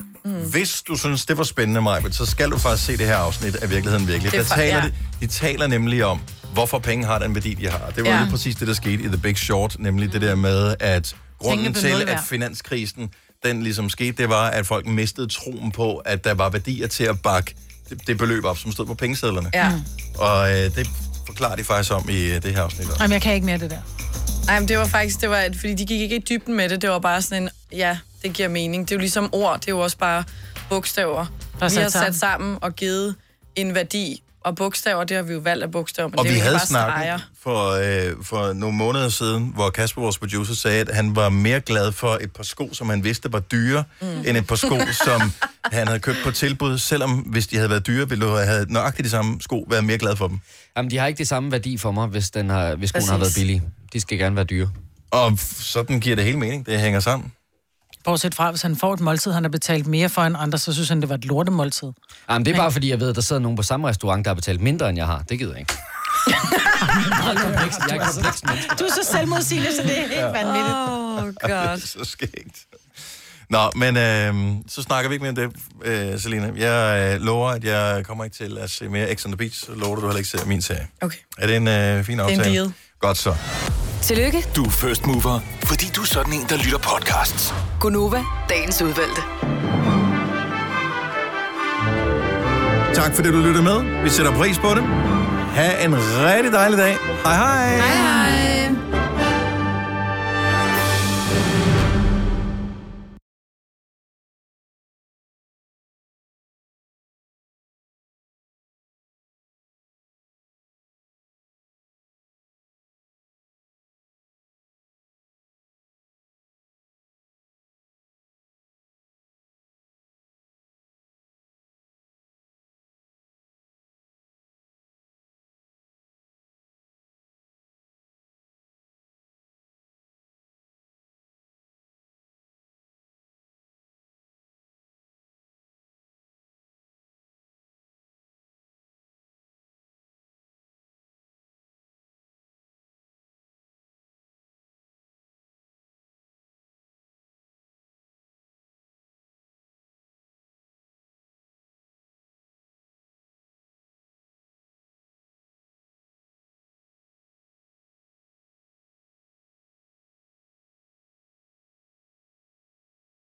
Hvis du synes, det var spændende, Maja, så skal du faktisk se det her afsnit af Virkeligheden Virkelig.
Det er
Der
fra-
taler
ja.
de, de taler nemlig om, hvorfor penge har den værdi, de har. Det var
Ja.
ja. lige præcis det, der skete i The Big Short, nemlig det der med, at grunden
blev
til,
nul
at
værd.
finanskrisen den ligesom skete, det var, at folk mistede troen på, at der var værdier til at bakke det, det beløb op, som stod på pengesedlerne.
Ja.
Og øh, det forklarer de faktisk om i øh, det her afsnit også.
Jamen, jeg kan ikke mere det der.
Nej, men det var faktisk, det var, at- fordi de gik ikke i dybden med det. Det var bare sådan en, ja, det giver mening. Det er jo ligesom ord, det er jo også bare bogstaver.
Bare
vi
sat
har
sammen.
sat sammen og givet en værdi. Og bogstaver, det har vi jo valgt af bogstaver, men
og
det er
vi
jo
havde
bare streger.
snakket for, øh, for nogle måneder siden, hvor Kasper, vores producer, sagde, at han var mere glad for et par sko, som han vidste var dyre, mm. end et par sko, som han havde købt på tilbud, selvom hvis de havde været dyre, ville du have nøjagtigt de samme sko været mere glad for dem.
Jamen, de har ikke det samme værdi for mig, hvis, den har, hvis skoen har været
Præcis.
billig. De skal gerne være dyre.
Og sådan giver det hele mening. Det hænger sammen.
Bortset fra, hvis han får et måltid, han har betalt mere for end andre, så synes han, det var et lortemåltid.
Jamen, det er bare fordi, jeg ved, at der sidder nogen på samme restaurant, der har betalt mindre, end jeg har. Det gider jeg ikke. Jeg er kompleks menneske.
Du er så selvmodsigende, så det er helt
Ja.
vanvittigt.
Oh,
Det er så skægt. Nå, men øh, så snakker vi ikke mere om det, øh, Selina. Jeg øh, lover, at jeg kommer ikke til at se mere X on the Beach, så lover du, du heller ikke ser min serie.
Okay.
Er det en øh, fin
er en
aftale?
deal.
Godt så.
Tillykke,
Du er first mover, fordi du er sådan en, der lytter podcasts.
Gunova, dagens udvalgte.
Tak fordi du lyttede med. Vi sætter pris på det. Ha' en rigtig dejlig dag. Hej hej. Hej hej.